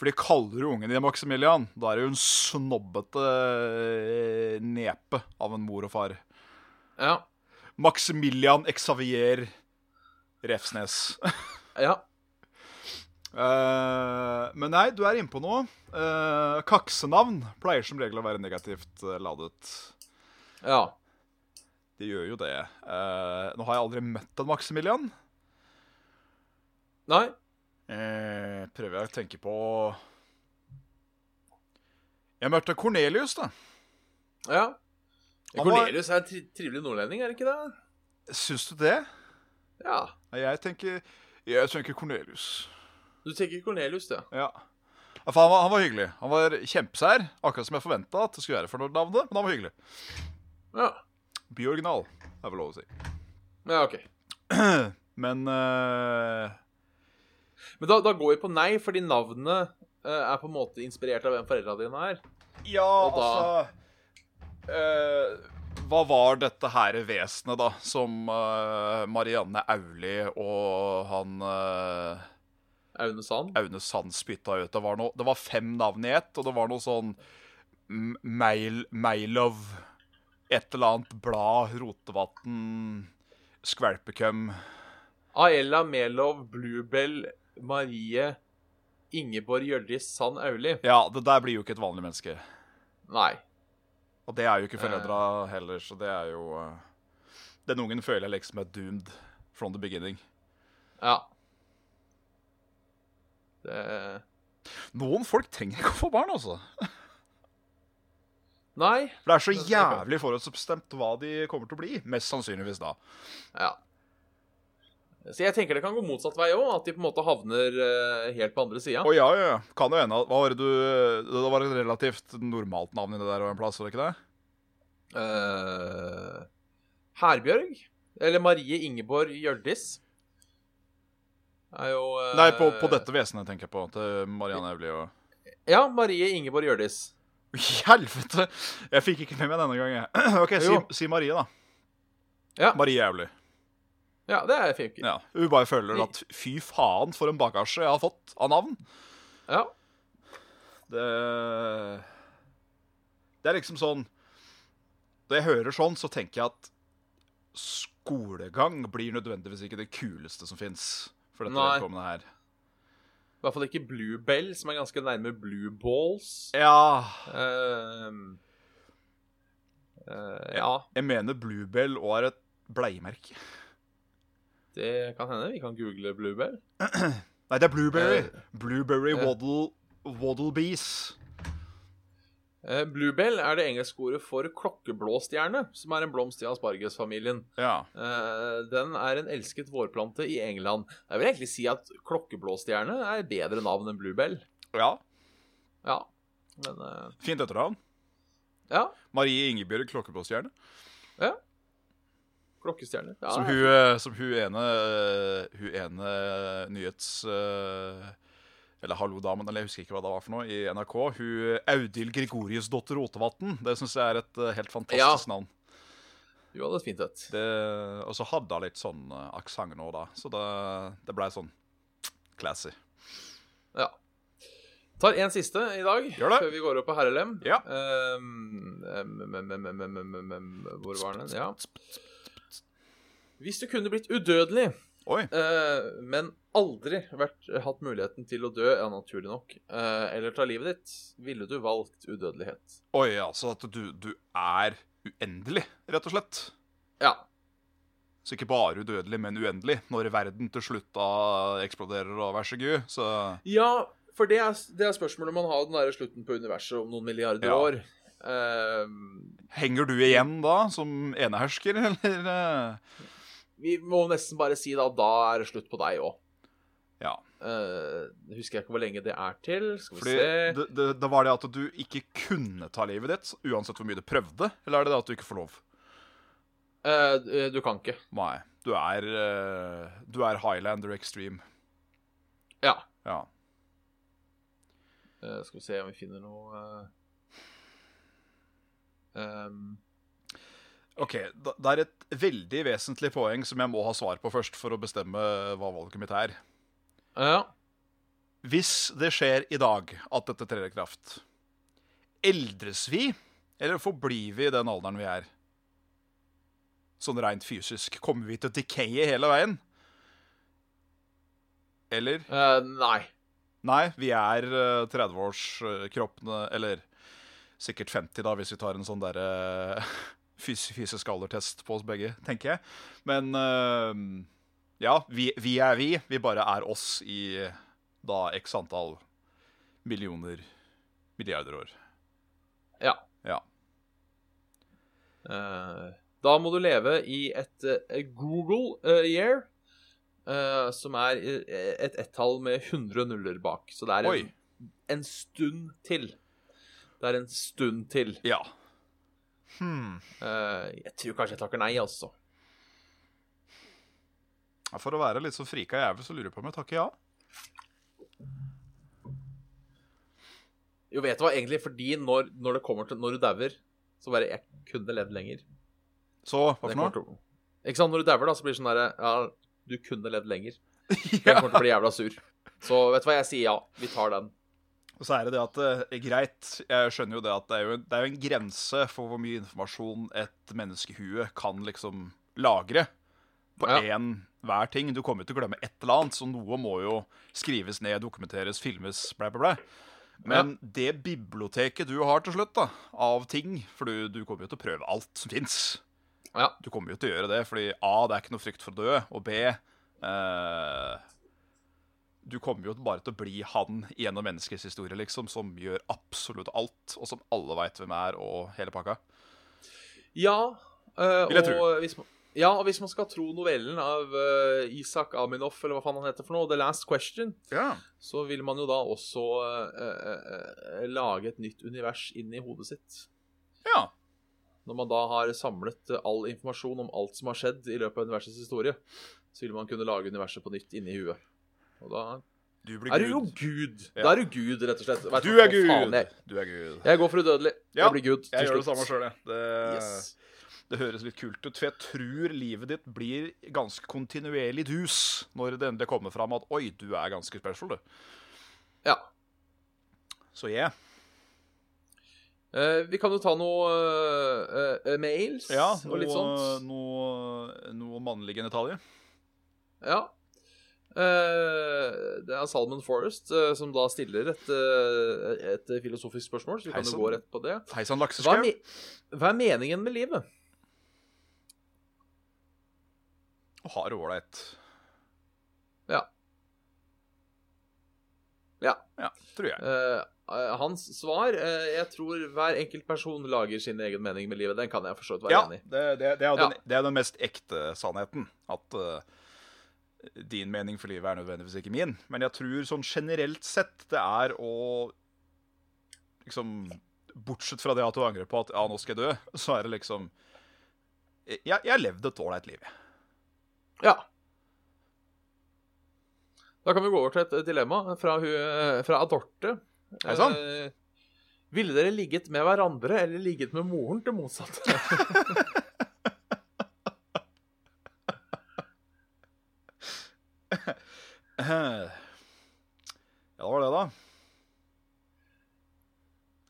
For de kaller jo ungen din Maximilian. Da er det jo en snobbete eh, nepe av en mor og far. Ja. Maximilian [laughs] Xavier Refsnes. ja. Eh, Eh, men nei, du er inne på noe. Eh, kaksenavn pleier som regel å være negativt eh, ladet. Ja. De gjør jo det. Eh, nå har jeg aldri møtt en Maximilian. Nei. Eh, prøver jeg å tenke på Jeg møtte Cornelius, da. Ja. Han var- Cornelius er en tri trivelig nordlending, er det ikke det? Syns du det? Ja. Nei, Jeg tenker Jeg tenker Cornelius. Du tenker Cornelius, du. Ja. Ja, for han, var, han var hyggelig. Han var kjempesær, akkurat som jeg forventa at det skulle være for navnet. Men han var hyggelig. Ja. By original, er vel lov å si. ja ok. Men eh, Men da, da går vi på nei, fordi navnene eh, er på en måte inspirert av hvem foreldra dine er. Ja, Og da- altså eh, Hva var dette her vesenet, da, som eh, Marianne Auli og han eh, Aune Sand. Aune Sand spytta ut. Det var, noe, det var fem navn i ett, og det var noe sånn M- Mail, Mailov Et eller annet blad, Rotevatn, Skvalpekøm Aella Melov Bluebell Marie Ingeborg Hjørdis Sand Auli. Ja, det der blir jo ikke et vanlig menneske. Nei. Og det er jo ikke foreldra Eh. heller, så det er jo eh, Den ungen føler jeg liksom er doomed from the beginning. Ja. Det Noen folk trenger ikke å få barn, altså. Nei. For det er så jævlig forhåndsbestemt hva de kommer til å bli. Mest sannsynligvis da. Ja. Så jeg tenker det kan gå motsatt vei òg, at de på en måte havner eh, helt på andre sida. Å ja, ja, ja. Kan jo hende. at- Hva var det du Det var et relativt normalt navn inni det der og en plass, var det ikke det? Eh, Herbjørg. Eller Marie Ingeborg Hjørdis. Er jo eh, Nei, på, på dette vesenet tenker jeg på. Til Marianne Evli og eh, [laughs] Ja, Marie Ingeborg Hjørdis. Helvete! Jeg fikk ikke med meg denne gangen. [clears throat] jeg. OK, si, Jo. si Marie, da. Ja. Marie Auli. Ja, det er fint. Ja. Ja. Hun bare føler at fy faen, for en bagasje jeg har fått av navn. Ja. Det Det er liksom sånn Når jeg hører sånn, så tenker jeg at skolegang blir nødvendigvis ikke det kuleste som fins for dette Nei. vedkommende her. I hvert fall ikke Bluebell, som er ganske nærme Blue Balls. Ja Ehm, eh, ja, Jeg mener Bluebell og er et bleiemerke. det kan hende. Vi kan google Bluebell. Nei, det er Blueberry. Eh, Blueberry eh. Waddle Waddlebees. Eh, Bluebell er det engelske ordet for klokkeblåstjerne, som er en blomst i aspargesfamilien. Ja. Eh, den er en elsket vårplante i England. Jeg vil egentlig si at klokkeblåstjerne er bedre navn enn Bluebell. ja. Ja, men eh, Fint etternavn. Ja, Marie Ingebjørg Klokkeblåstjerne. klokkestjerne. Ja, som, hun, eh, som hun ene eh, Hun ene nyhets... eh, Eller Hallo-damen, eller jeg husker ikke hva det var for noe, i NRK. Hun eh, Audhild Gregoriusdotter Rotevatn. Det syns jeg er et eh, helt fantastisk navn. hun hadde et fint et. Det, og så hadde hun litt sånn eh, aksent nå, da. Så det, det blei sånn classy. Ja. Tar en siste i dag, Gjør det. før vi går opp på herrelem. Ja. Ehm, em, em, em, em, em, em, em, em, em, ehm, hvor var den? Ja. Hvis du kunne blitt udødelig, Oi. eh, men aldri vært, eh, hatt muligheten til å dø, ja, naturlig nok, eh, eller ta livet ditt, ville du valgt udødelighet? Oi, altså at du, du er uendelig, rett og slett. Ja. Så ikke bare udødelig, men uendelig. Når verden til slutt da eksploderer og vær så god, så Ja, for det er, det er spørsmålet man har den der slutten på universet om noen milliarder Ja. år. Ehm, Henger du igjen da, som enehersker, [laughs] eller eh? vi må nesten bare si da, da er det slutt på deg òg. Ja. Eh, husker jeg ikke hvor lenge det er til. Skal vi Fordi se det, det, det var det at du ikke kunne ta livet ditt, uansett hvor mye du prøvde, eller er det det at du ikke får lov? Eh, Du kan ikke. Nei. Du er, eh, du er Highlander Extreme. Ja. Ja. Eh, skal vi se om vi finner noe eh, ehm, OK, da- det er et veldig vesentlig poeng som jeg må ha svar på først, for å bestemme hva valget mitt er. Ja. Hvis det skjer i dag at dette trer i kraft, eldres vi, eller forblir vi i den alderen vi er? Sånn rent fysisk. Kommer vi til å decaye hele veien? Eller Eh, nei. Nei, vi er eh, 30-årskroppene, eller sikkert 50 da, hvis vi tar en sånn derre [laughs] fys fysisk aldertest på oss begge, tenker jeg. Men eh, ja, vi, vi er vi. Vi bare er oss i da x antall millioner milliarder år. Ja. Ja. Eh, da må du leve i et eh, Google eh, year, eh, som er eh, et ett-tall med 100 nuller bak. Så det er en, Oi. en stund til. Det er en stund til. Ja. Hmm. Eh, jeg tror kanskje jeg takker nei, altså. Ja, For å være litt så frika jævel, så lurer jeg på om jeg takker ja. Jo, vet du hva, egentlig, fordi når, når det kommer til Når du dauer, så bare Jeg kunne levd lenger. Så hva Det for kommer noe? til å- Ikke sant, når du dauer, da, så blir det sånn derre Ja, du kunne levd [laughs] lenger. Jeg Ja. kommer til å bli jævla sur. Så vet du hva, jeg sier ja. Vi tar den. Og så er det det at eh, Greit, jeg skjønner jo det at det er jo, det er jo en grense for hvor mye informasjon et menneskehue kan liksom lagre på Ja. én hver ting. Du kommer jo til å glemme et eller annet, så noe må jo skrives ned, dokumenteres, filmes, blæ, blæ, blæ. Men det biblioteket du har til slutt, da, av ting For du, du kommer jo til å prøve alt som fins. Ja. Du kommer jo til å gjøre det, fordi A, det er ikke noe frykt for å dø, og B eh, Du kommer jo bare til å bli han gjennom menneskets historie, liksom, som gjør absolutt alt, og som alle veit hvem er, og hele pakka. Ja, eh, Vil jeg og tro. Hvis man, ja, og hvis man skal tro novellen av eh, Isak Aminoff, eller hva faen han heter for noe, The Last Question, Ja. så vil man jo da også eh, eh, eh, lage et nytt univers inn i hodet sitt. ja. Når man da har samlet eh, all informasjon om alt som har skjedd i løpet av universets historie, så vil man kunne lage universet på nytt inni huet. Og da Du blir er du jo gud. Gud. Ja. Da er du Gud, rett og slett. Vet Du hva er faen Gud. Jeg, Du er Gud. jeg går for udødelig. Ja, jeg blir Gud til Jeg gjør det slutt. samme sjøl, jeg. Det, Yes. det høres litt kult ut, for jeg tror livet ditt blir ganske kontinuerlig dus når det endelig kommer fram at oi, du er ganske special, du. Ja. Så jeg Eh, vi kan jo ta noe eh, eh, mails Ja, og litt sånt. Noe, noe mannlig genitalie. Ja. Eh, det er Salman Forrest eh, som da stiller et, eh, et filosofisk spørsmål, så vi kan jo Heisan. gå rett på det. Hei sann, Hva er, lakseskau. me Hva er meningen med livet? Og har ålreit. Ja. Ja. Ja, tror jeg. Eh, eh, hans svar eh, Jeg tror hver enkelt person lager sin egen mening med livet. Den kan jeg for så vidt være Ja, enig i. det, det, det, er jo Ja. den, det er den mest ekte sannheten. At eh, din mening for livet er nødvendigvis ikke min. Men jeg tror sånn generelt sett det er å liksom Bortsett fra det at du angrer på at ja, nå skal jeg dø, så er det liksom Jeg, jeg har levd et ålreit liv. jeg. Ja. Da kan vi gå over til et dilemma fra, hu- fra Adorte. Er det sånn? Eh, ville dere ligget med hverandre eller ligget med moren til motsatte? Ja, det var det, da.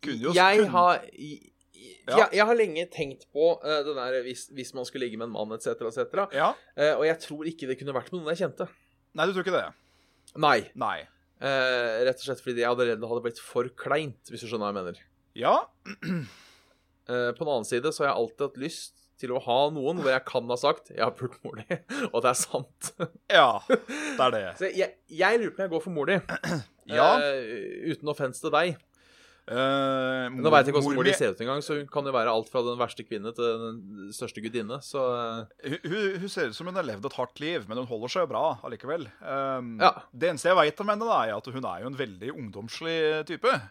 Kunne jo jeg kun- har i- i- Ja. jeg, jeg har lenge tenkt på eh, den der hvis, hvis man skulle ligge med en mann etc., etc. Ja. Eh, og jeg tror ikke det kunne vært med noen jeg kjente. Nei, du tror ikke det? Nei. Nei. Eh, rett og slett fordi det allerede hadde blitt for kleint, hvis du skjønner hva jeg mener. Ja, Eh, på den annen side så har jeg alltid hatt lyst til å ha noen hvor jeg kan ha sagt 'jeg har pult mor di', [laughs] og det er sant. Ja, det er [laughs] det. Så jeg, jeg lurer på om jeg går for mor di, Ja. eh, uten offens til deg. eh, Men Nå veit jeg ikke mor hvordan mor di mi- ser ut engang, så hun kan jo være alt fra den verste kvinne til den største gudinne, så eh, Hun, hun- hun ser ut som hun har levd et hardt liv, men hun holder seg jo bra allikevel. Um, Ja. Det eneste jeg veit om henne, da, er at hun er jo en veldig ungdomslig type.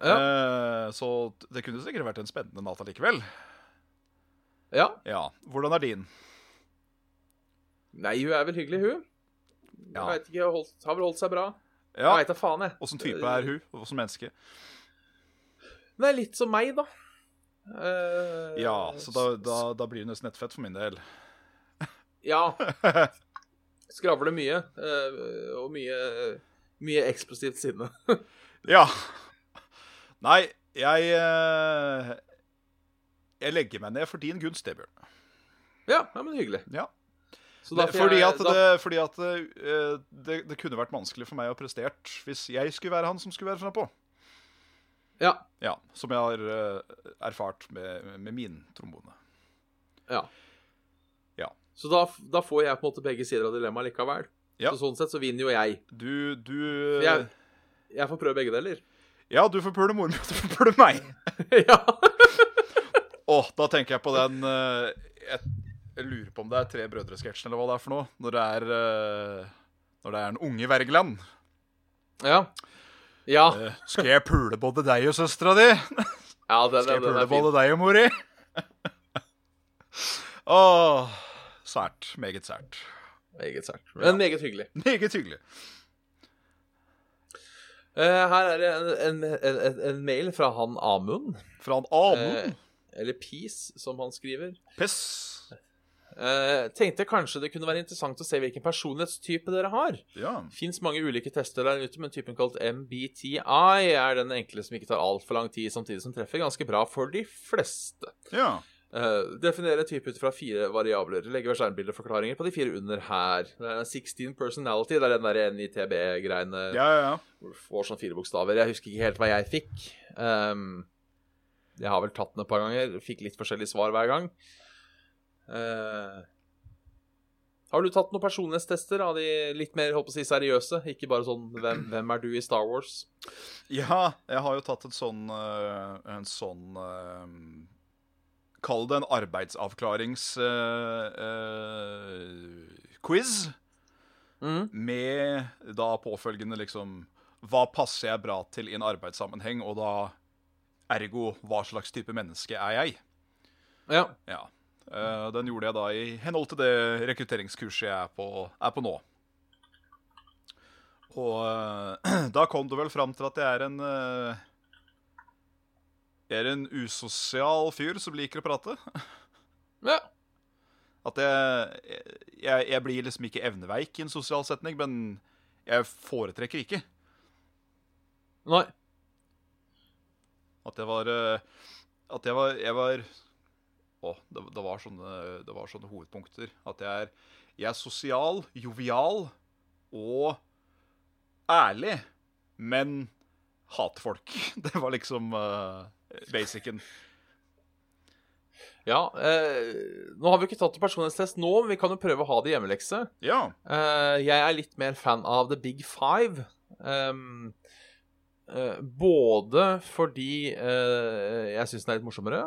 Eh, så det kunne sikkert vært en spennende natt allikevel. ja. Ja. Hvordan er din? Nei, hun er vel hyggelig, hun. Jeg Ja. vet ikke, holdt, har vel holdt seg bra. Jeg Ja. veit da faen, jeg. Åssen type er hun? Åssen menneske? Hun er litt som meg, da. Eh, Ja, så da, da, da blir hun nesten nettfett for min del. [laughs] Ja. Skravler mye, eh, og mye, mye eksplosivt sinne. Ja. Nei, jeg eh, Jeg legger meg ned for din gunst, det, Bjørn. Ja, ja men hyggelig. Ja. Så Det, da får fordi jeg- at, da- det, fordi at eh, det, det kunne vært vanskelig for meg å prestert hvis jeg skulle være han som skulle være frampå. Ja. Ja, som jeg har eh, erfart med, med min trombone. Ja. Ja. Så da, da får jeg på en måte begge sider av dilemmaet likevel. Ja. Eh. Så sånn sett så vinner jo jeg. Du, du Jeg, jeg får prøve begge deler. [laughs] Ja, du får pule moren min, og du får pule meg. ja. Å, da tenker jeg på den eh, jeg, jeg lurer på om det er Tre brødre-sketsjen eller hva det er for noe. Når det er, eh, når det er en unge Wergeland. Ja. Ja, Eh, skal jeg pule både deg og søstera di? ja den, Skal jeg den, den pule er fin. både deg og mor di? [laughs] Åh, sært. Meget sært. Meget sært. Men meget hyggelig. Meget hyggelig. Eh, her er det en, en, en, en mail fra han Amund, Fra en annen eh, eller Peace, som han skriver. piss. Eh, tenkte kanskje det kunne være interessant å se hvilken personlighetstype dere har. Ja. Fins mange ulike tester der ute, men typen kalt MBTI er den enkle som ikke tar altfor lang tid, samtidig som treffer ganske bra for de fleste. ja. Uh, definere type ut fra fire variabler. Legge ved skjermbildeforklaringer på de fire under her. Det er 16 personality, det er den der NITB-greiene. Ja, ja, ja. Får sånn fire bokstaver. Jeg husker ikke helt hva jeg fikk. Um, jeg har vel tatt den et par ganger. Fikk litt forskjellige svar hver gang. Eh, har du tatt noen personlighetstester av de litt mer håper å si, seriøse? Ikke bare sånn hvem, 'Hvem er du i Star Wars?' Ja, jeg har jo tatt et sånn eh, En sånn eh, Kall det en eh, arbeidsavklaringsquiz. Mm. Mhm. eh, Med da påfølgende liksom Hva passer jeg bra til i en arbeidssammenheng? Og da ergo hva slags type menneske er jeg? Ja. Ja. Eh, den gjorde jeg da i henhold til det rekrutteringskurset jeg er på, er på nå. Og eh, [clears throat] da kom det vel fram til at jeg er en eh, Jeg er en usosial fyr som liker å prate. ja. At jeg, jeg Jeg blir liksom ikke evneveik i en sosial setning, men jeg foretrekker ikke. Nei. At jeg var eh, At jeg var, jeg var Å, det, det, var sånne, det var sånne hovedpunkter. At jeg er, jeg er sosial, jovial og ærlig, men hater folk. [laughs] Det var liksom eh, basicen. Ja, eh, nå har vi jo ikke tatt en personlighetstest nå, men vi kan jo prøve å ha det i hjemmelekse. Ja. Eh, jeg er litt mer fan av The Big Five. Ehm, eh, både fordi eh, jeg syns den er litt morsommere,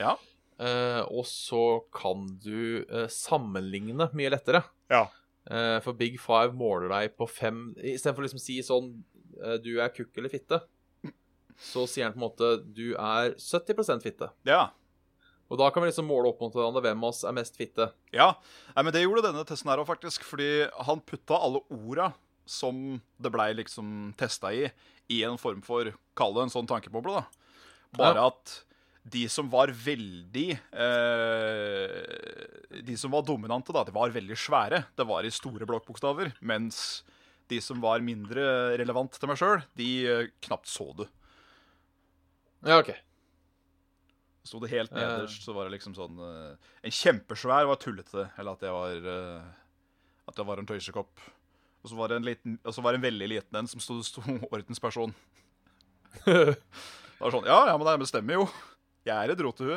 Ja. eh, og så kan du eh, sammenligne mye lettere. Ja. Eh, for Big Five måler deg på fem Istedenfor å liksom si sånn eh, Du er kukk eller fitte, så sier han på en måte du er 70 fitte. Ja. Og da kan vi liksom måle opp mot hverandre hvem av oss er mest fitte. ja. Nei, men det gjorde denne testen her òg, faktisk. Fordi han putta alle orda som det blei liksom testa i, i en form for Kall det en sånn tankeboble, da. Bare at de som var veldig eh, De som var dominante, da, de var veldig svære. Det var i store blokkbokstaver. Mens de som var mindre relevant til meg sjøl, de eh, knapt så du. Ja, ok. [laughs] Sto det Eh. helt nederst, så var det liksom sånn eh, En kjempesvær var tullete. Eller at jeg var eh, At jeg var en tøysekopp. Og så var det en, liten, og så var det en veldig liten en som sto, sto [laughs] ordensperson. Det var sånn Ja, ja, men det stemmer jo. Jeg er et rotehue.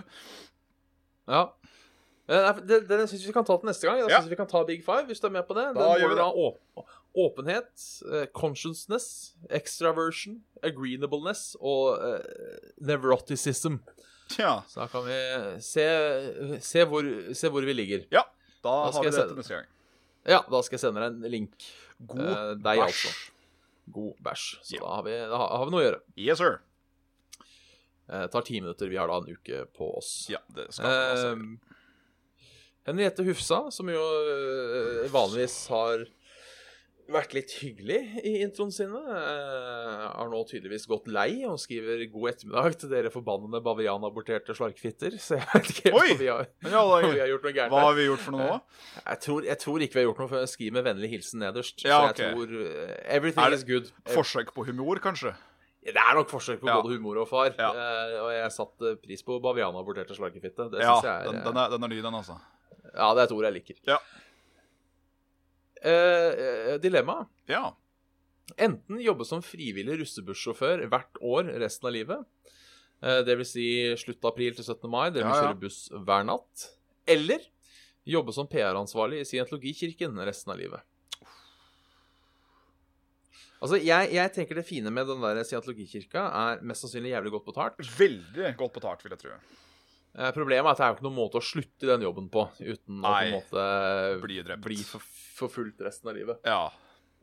Ja. Eh, nei, Den, den syns vi kan ta til neste gang. Da Ja. synes vi vi kan ta Big Five, hvis du er med på det. Den Da gjør vi måler da åp åpenhet, eh, consciousness, extraversion, agreeableness og eh, nevroticism. Tja. Så da kan vi se, se, hvor, se hvor vi ligger. Ja, da, Da skal har vi jeg det se- til neste gang. Ja, da skal jeg sende deg en link. God Eh, deg, bæsj. altså. God bæsj. Så Ja. da, har vi, da har- har vi noe å gjøre. Yes, sir. Eh, tar ti minutter. Vi har da en uke på oss. Ja, det skal vi altså gjøre. Ehm, Henriette Hufsa, som jo øh, vanligvis har vært litt hyggelig i introen sine, øh, har nå tydeligvis gått lei og skriver 'god ettermiddag til dere forbannede bavianaborterte slarkfitter'. [laughs] Så jeg vet ikke helt Oi! om vi har, Men [laughs] ja, om vi da, har gjort noe gærent. hva har der. vi gjort for Eh, noe nå? Jeg, tror, jeg tror ikke vi har gjort noe, for jeg skriver med vennlig hilsen nederst. Ja, Så jeg ok. tror øh, Everything Er det- is good. Forsøk på humor, kanskje? Det er nok forsøk på Ja. både humor og far. Ja. eh, og jeg satte pris på bavianaborterte slarkefitte. Det Ja, synes jeg er, eh, den, den, er, den er ny, den, altså. Ja, det er et ord jeg liker. Ja. eh, dilemma. Ja. Enten jobbe som frivillig russebussjåfør hvert år resten av livet. Eh, Det vil si slutt av april til 17. mai, dere vil Ja, ja. kjøre buss hver natt. Eller jobbe som PR-ansvarlig i Scientologikirken resten av livet. Altså, jeg, jeg tenker det fine med den der Scientologikirka er mest sannsynlig jævlig godt betalt. Veldig godt betalt, vil jeg tro. Eh, Problemet er at det er jo ikke noen måte å slutte i den jobben på uten å på en Nei. måte bli, Blir drept. for, forfulgt resten av livet. Ja.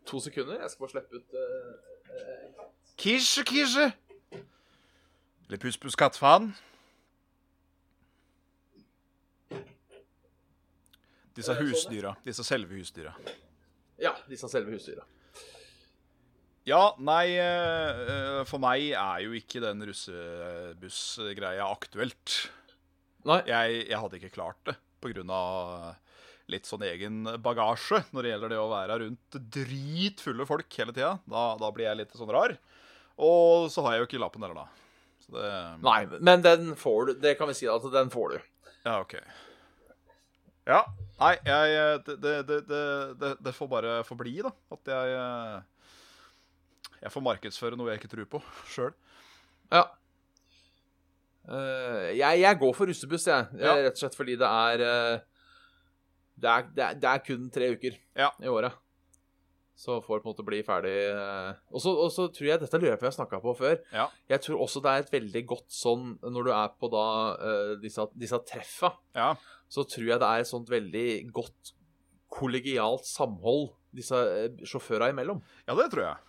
To sekunder, jeg skal bare slippe ut eh, Kisje, kisje! Eller puss, puss, kattfaen. Disse husdyra. Disse selve husdyra. Ja, disse selve husdyra. Ja, nei, eh, eh, for meg er jo ikke den russebussgreia aktuelt. Nei. Jeg, jeg hadde ikke klart det pga. litt sånn egen bagasje når det gjelder det å være rundt dritfulle folk hele tida. Da, da blir jeg litt sånn rar. Og så har jeg jo ikke lappen heller, da. Så det Nei, men den får du. Det kan vi si at den får du. Ja, OK. Ja. Nei, jeg eh, Det, det, det, det- det, det får bare forbli, da. At jeg eh, Jeg får markedsføre noe jeg ikke tror på sjøl. Ja. Eh, jeg, jeg går for russebuss, jeg. Ja. Eh, Rett og slett fordi det er, eh, det er, det er Det er kun tre uker Ja. i året. Så får det på en måte bli ferdig eh. Og så og så tror jeg dette løpet jeg har snakka på før. Ja. Jeg tror også det er et veldig godt sånn når du er på da eh, disse, disse treffa. Ja. så tror jeg det er et sånt veldig godt kollegialt samhold disse eh, sjåføra imellom. ja, det tror jeg.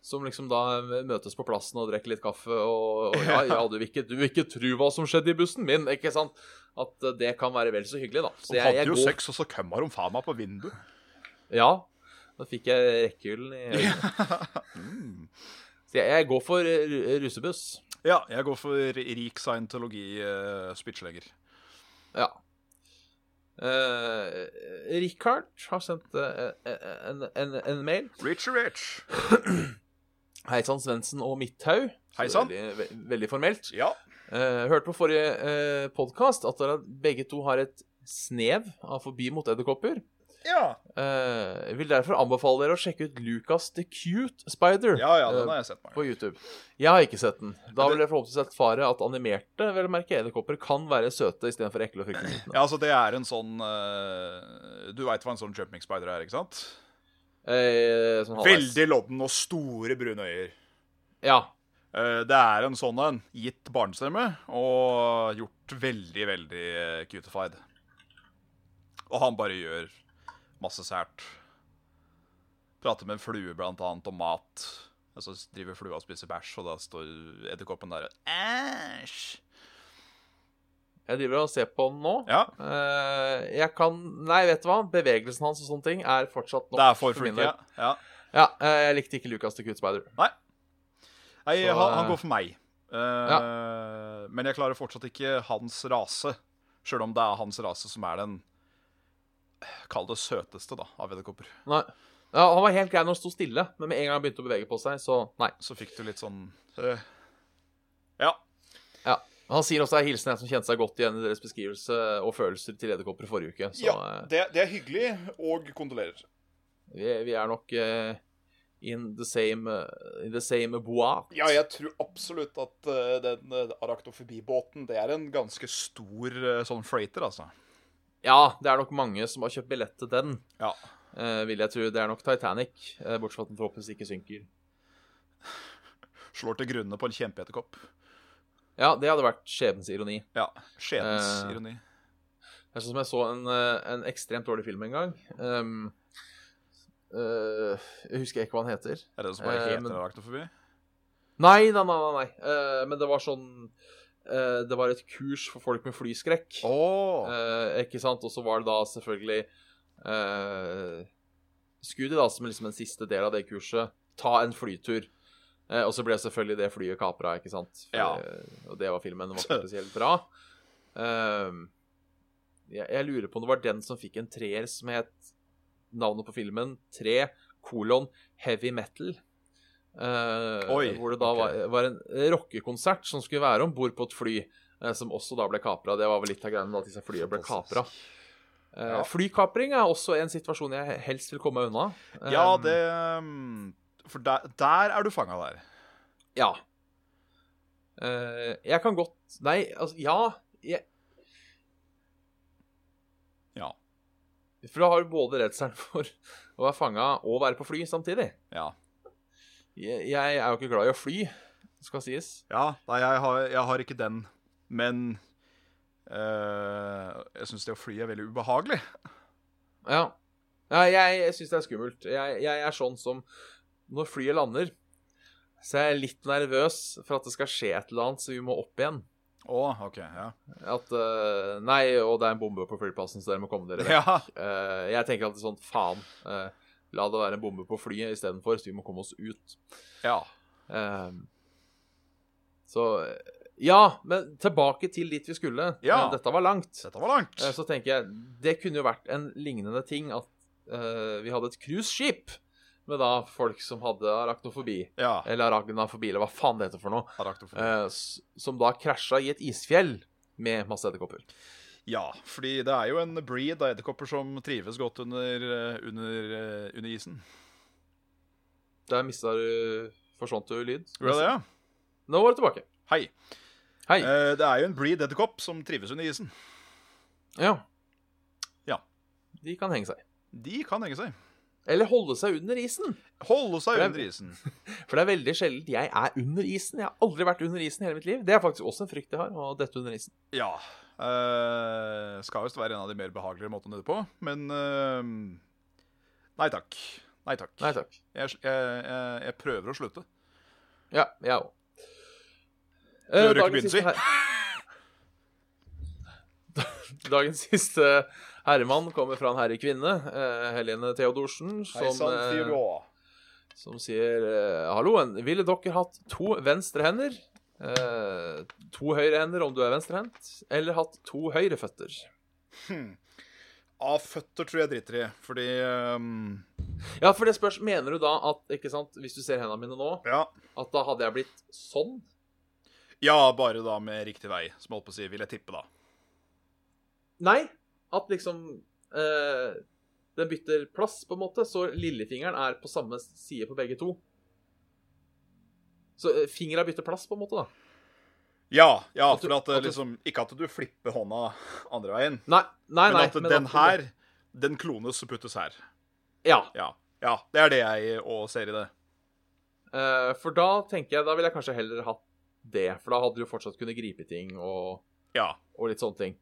Som liksom da møtes på plassen og drikker litt kaffe og, og ja, ja, du vil, ikke, du vil ikke tru hva som skjedde i bussen min, ikke sant? At eh, det kan være vel så hyggelig, da. Så De jeg, hadde jeg jo går sex, og så kommer de faen meg på vinduet. Ja. Da fikk jeg rekkehyllen i øynene. [laughs] Mm. Så jeg, jeg går for eh, ru- russebuss. Ja, jeg går for rik eh, scientologi-spyttslegger. Ja. Eh, Richard har sendt eh, en, en, en mail. Rich rich. Hei sann, Svendsen og Midthaug. Så Hei sann. Veldig, ve- veldig formelt. Ja. Eh, hørte på forrige eh, podkast at dere begge to har et snev av forbi mot edderkopper. Ja. Eh, vil derfor anbefale dere å sjekke ut Lucas the Cute Spider ja, ja, den eh, har jeg sett mange på YouTube. Jeg har ikke sett den. Da vil dere forhåpentligvis erfare at animerte vel å merke edderkopper kan være søte istedenfor ekle og fryktelige. Ja, altså Det er en sånn eh, Du veit hva en sånn jumping spider er, ikke sant? Eh, sånn halvveis. Veldig lodden og store brune øyer. Ja. Eh, det er en sånn en, gitt barnestemme, og gjort veldig, veldig eh, cutified. Og han bare gjør masse sært. Prater med en flue, blant annet, om mat. Og så driver flua og spiser bæsj, og da står edderkoppen der og Æsj! Jeg driver og ser på den nå. Ja, Eh, jeg kan Nei, vet du hva? Bevegelsen hans og sånne ting er fortsatt nok. det er for for min freaky. Ja. del. Ja. Ja, eh, jeg likte ikke Lucas the Cute Spider. Nei, Så, han, han eh, går for meg. Eh, Men jeg klarer fortsatt ikke hans rase. Sjøl om det er hans rase som er den Kall det søteste, da, av edderkopper. Nei. Ja, han var helt grei når han sto stille, men med en gang han begynte å bevege på seg, så nei. Så fikk du litt sånn eh, Ja. Ja. Han sier også en hilsen en som kjente seg godt igjen i deres beskrivelse og følelser til edderkopper i forrige uke, så eh, det, er hyggelig, og kondolerer. vi, vi er nok eh, in the same, eh, in the same bois. Ja, jeg tror absolutt at eh, den eh, araktofobibåten Det er en ganske stor eh, sånn freighter, altså. Ja, det er nok mange som har kjøpt billett til den, Ja. eh, vil jeg tro. Det er nok Titanic, eh, bortsett fra at den forhåpentligvis ikke synker. Slår til grunne på en kjempeedderkopp. Ja, det hadde vært skjebnesironi. Ja. Skjebnens Eh, ironi. Jeg synes jeg så en, eh, en ekstremt dårlig film en gang. Um, eh, jeg husker ikke hva den heter. Er det det som bare eh, heter men- araktofobi? Nei, nei, nei. nei, nei. Eh, men det var sånn eh, Det var et kurs for folk med flyskrekk. Oh. Eh, ikke sant? Og så var det da selvfølgelig uh, Skulle de da som liksom en siste del av det kurset ta en flytur? Eh, og så ble selvfølgelig det flyet kapra, ikke sant? For, Ja. eh, og det var filmen. [laughs] Den var ikke spesielt bra. Ehm, jeg, jeg lurer på om det var den som fikk en treer som het navnet på filmen 3 kolon heavy metal. Eh, Oi, hvor det da ok. var, var en rockekonsert som skulle være om bord på et fly, eh, som også da ble kapra. Det var vel litt av greiene med at disse flyene ble kapra. Eh, Flykapring er også en situasjon jeg helst vil komme unna. Eh, Ja, det mm, For der, der er du fanga der. Ja. Eh, jeg kan godt Nei, altså Ja. Jeg... Ja. For da har du både redselen for å være fanga og være på fly samtidig. Ja. Jeg, jeg er jo ikke glad i å fly, skal sies. Ja, nei, jeg har, jeg har ikke den. Men eh, jeg syns det å fly er veldig ubehagelig. Ja. ja jeg jeg syns det er skummelt. Jeg, jeg er sånn som Når flyet lander, så er jeg litt nervøs for at det skal skje et eller annet, så vi må opp igjen. Å, OK. Ja. At eh, Nei, og det er en bombe på flyplassen, så dere må komme dere vekk. ja. Eh, jeg tenker alltid sånn Faen. eh, la det være en bombe på flyet istedenfor, så vi må komme oss ut. ja. Eh, så Ja, men tilbake til dit vi skulle. Ja. Eh, Dette var langt. Dette var langt. Eh, Så tenker jeg, det kunne jo vært en lignende ting at eh, vi hadde et cruiseskip med da folk som hadde arachnofobi, Ja. eller aragnafobi, eller hva faen det heter for noe, Arachnofobi. eh, s- som da krasja i et isfjell med masse edderkopper. Ja, fordi det er jo en breed av edderkopper som trives godt under, eh, under, eh, under isen. Der mista du Forsvant du lyd? Gjorde jeg det? ja? Nå var du tilbake. Hei. Hei. Eh, det er jo en breed edderkopp som trives under isen. Ja. Ja. De kan henge seg. De kan henge seg. Eller holde seg under isen. Holde seg Frem. under isen. For det er veldig sjelden jeg er under isen. Jeg har aldri vært under isen i hele mitt liv. Det er faktisk også en frykt jeg har, å dette under isen. Ja. eh, skal visst være en av de mer behagelige måtene å dø på, men eh, Nei takk. Nei takk. Nei takk. Jeg, sl- jeg, jeg, jeg prøver å slutte. Ja, jeg Eh, òg. hører ikke byen si. [laughs] Dagens siste herremann kommer fra en herrekvinne, eh, Helene Theodorsen, som, eh, som sier eh, Halloen, ville dere hatt to venstre hender? Eh, to høyre hender om du er venstrehendt, eller hatt to høyre føtter? Av føtter tror jeg driter i, fordi eh, Ja, for det spørs Mener du da at ikke sant, hvis du ser hendene mine nå, Ja. at da hadde jeg blitt sånn? Ja, bare da med riktig vei, som jeg holdt på å si, vil jeg tippe, da. Nei, at liksom eh, Den bytter plass, på en måte, så lillefingeren er på samme side på begge to. Så eh, fingra bytter plass, på en måte, da. Ja, ja At du- for at, eh, at du- liksom Ikke at du flipper hånda andre veien, Nei, nei, men nei. at den her, den klones og puttes her. Ja. Ja. ja. Det er det jeg òg ser i det. eh, for da tenker jeg Da ville jeg kanskje heller hatt det, for da hadde du fortsatt kunnet gripe ting og, Ja. og litt sånne ting.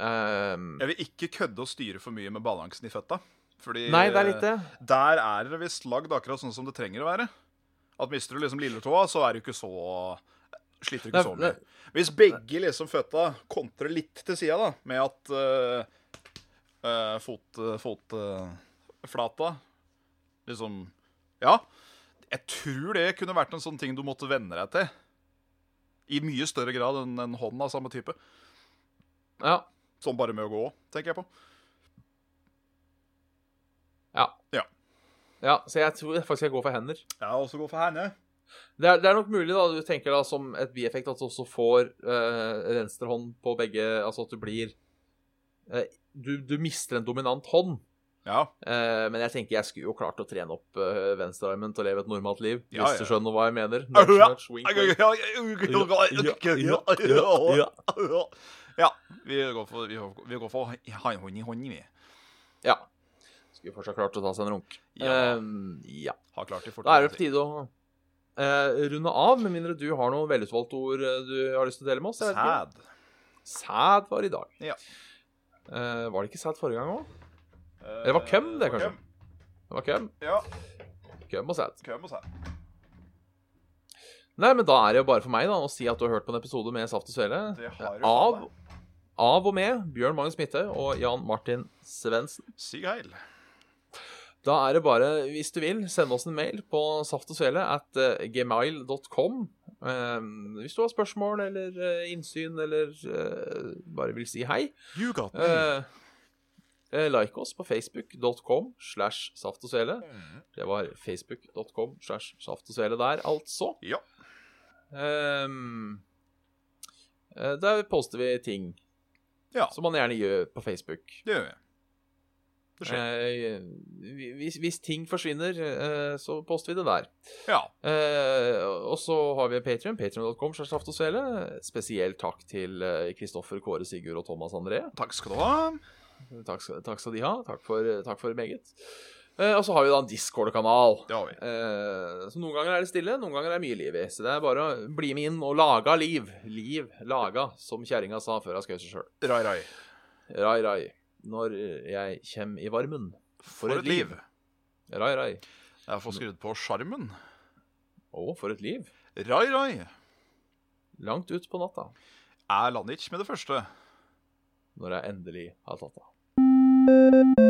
Ehm, Jeg vil ikke kødde og styre for mye med balansen i føtta. Fordi nei, det er litt det. Der er det visst lagd akkurat sånn som det trenger å være. At mister du liksom lilletåa, så er du ikke så Sliter du ikke Nei, så nei. mye. Hvis begge liksom føtta kontrer litt til sida, da, med at eh, eh, fot... fotflata liksom Ja. Jeg tror det kunne vært en sånn ting du måtte venne deg til. I mye større grad enn en hånd av samme type. Ja. Sånn bare med å gå, tenker jeg på. Ja. Ja. ja. Så jeg tror faktisk jeg går for hender. Ja, og så gå for henne. Det er, det er nok mulig, da, du tenker da som et bieffekt at du også får eh, venstre hånd på begge Altså at du blir eh, du, du mister en dominant hånd. Ja. Eh, men jeg tenker jeg skulle jo klart å trene opp eh, venstrearmen til å leve et normalt liv. Hvis Ja, ja. du skjønner hva jeg [laughs] mener. Ja, Nudge, ja. nudge, wink, wink. Ja, vi går for, vi går, vi går for hånd i hånd, vi. Ja. Skulle fortsatt klart å ta seg en runk. Ja. Eh, ja. Har klart det Da er det på tide å eh, runde av, med mindre du har noen velutvalgte ord eh, du har lyst til å dele med oss. jeg vet ikke. Sæd. Sæd var i dag. Ja. Eh, var det ikke sæd forrige gang òg? Det var køm, det, kanskje? Det var køm. Ja, Køm og sæd. køm og sæd. Nei, men da er det jo bare for meg da, å si at du har hørt på en episode med Saft og Svele. Det har du Av, faen av og med Bjørn Magnus Midthaug og Jan Martin Svendsen. Sig heil. Da er det bare, hvis du vil, sende oss en mail på saftogsvele at eh, gmail.com. Eh, hvis du har spørsmål eller eh, innsyn eller eh, bare vil si hei. You got me. Eh, eh, like oss på facebook.com slash saft og svele. Eh, Det var facebook.com slash saft og svele der, altså. Ja. Ehm, eh, der poster vi ting Ja. som man gjerne gjør på Facebook. Det gjør vi. Det skjer. Eh, hvis, hvis ting forsvinner, eh, så poster vi det der. Ja. Eh, og så har vi Patreon, patreon.com. Spesiell takk til eh, Kristoffer, Kåre, Sigurd og Thomas André. Takk skal du ha. Takk, skal- takk skal de ha. Takk for, takk for meget. Eh, og så har vi da en Discord-kanal. Det har vi. Eh, så noen ganger er det stille, noen ganger er det mye liv i. Så det er bare å bli med inn og laga liv. Liv laga, som kjerringa sa før hun skjøt seg sjøl. Rai, rai. Rai, rai. Når jeg kjem i varmen. For et liv. Rai, rai. Jeg har fått skrudd på sjarmen. Å, for et liv. Rai, rai. Langt ut på natta. Jeg lander ikke med det første. Når jeg endelig har tatt av.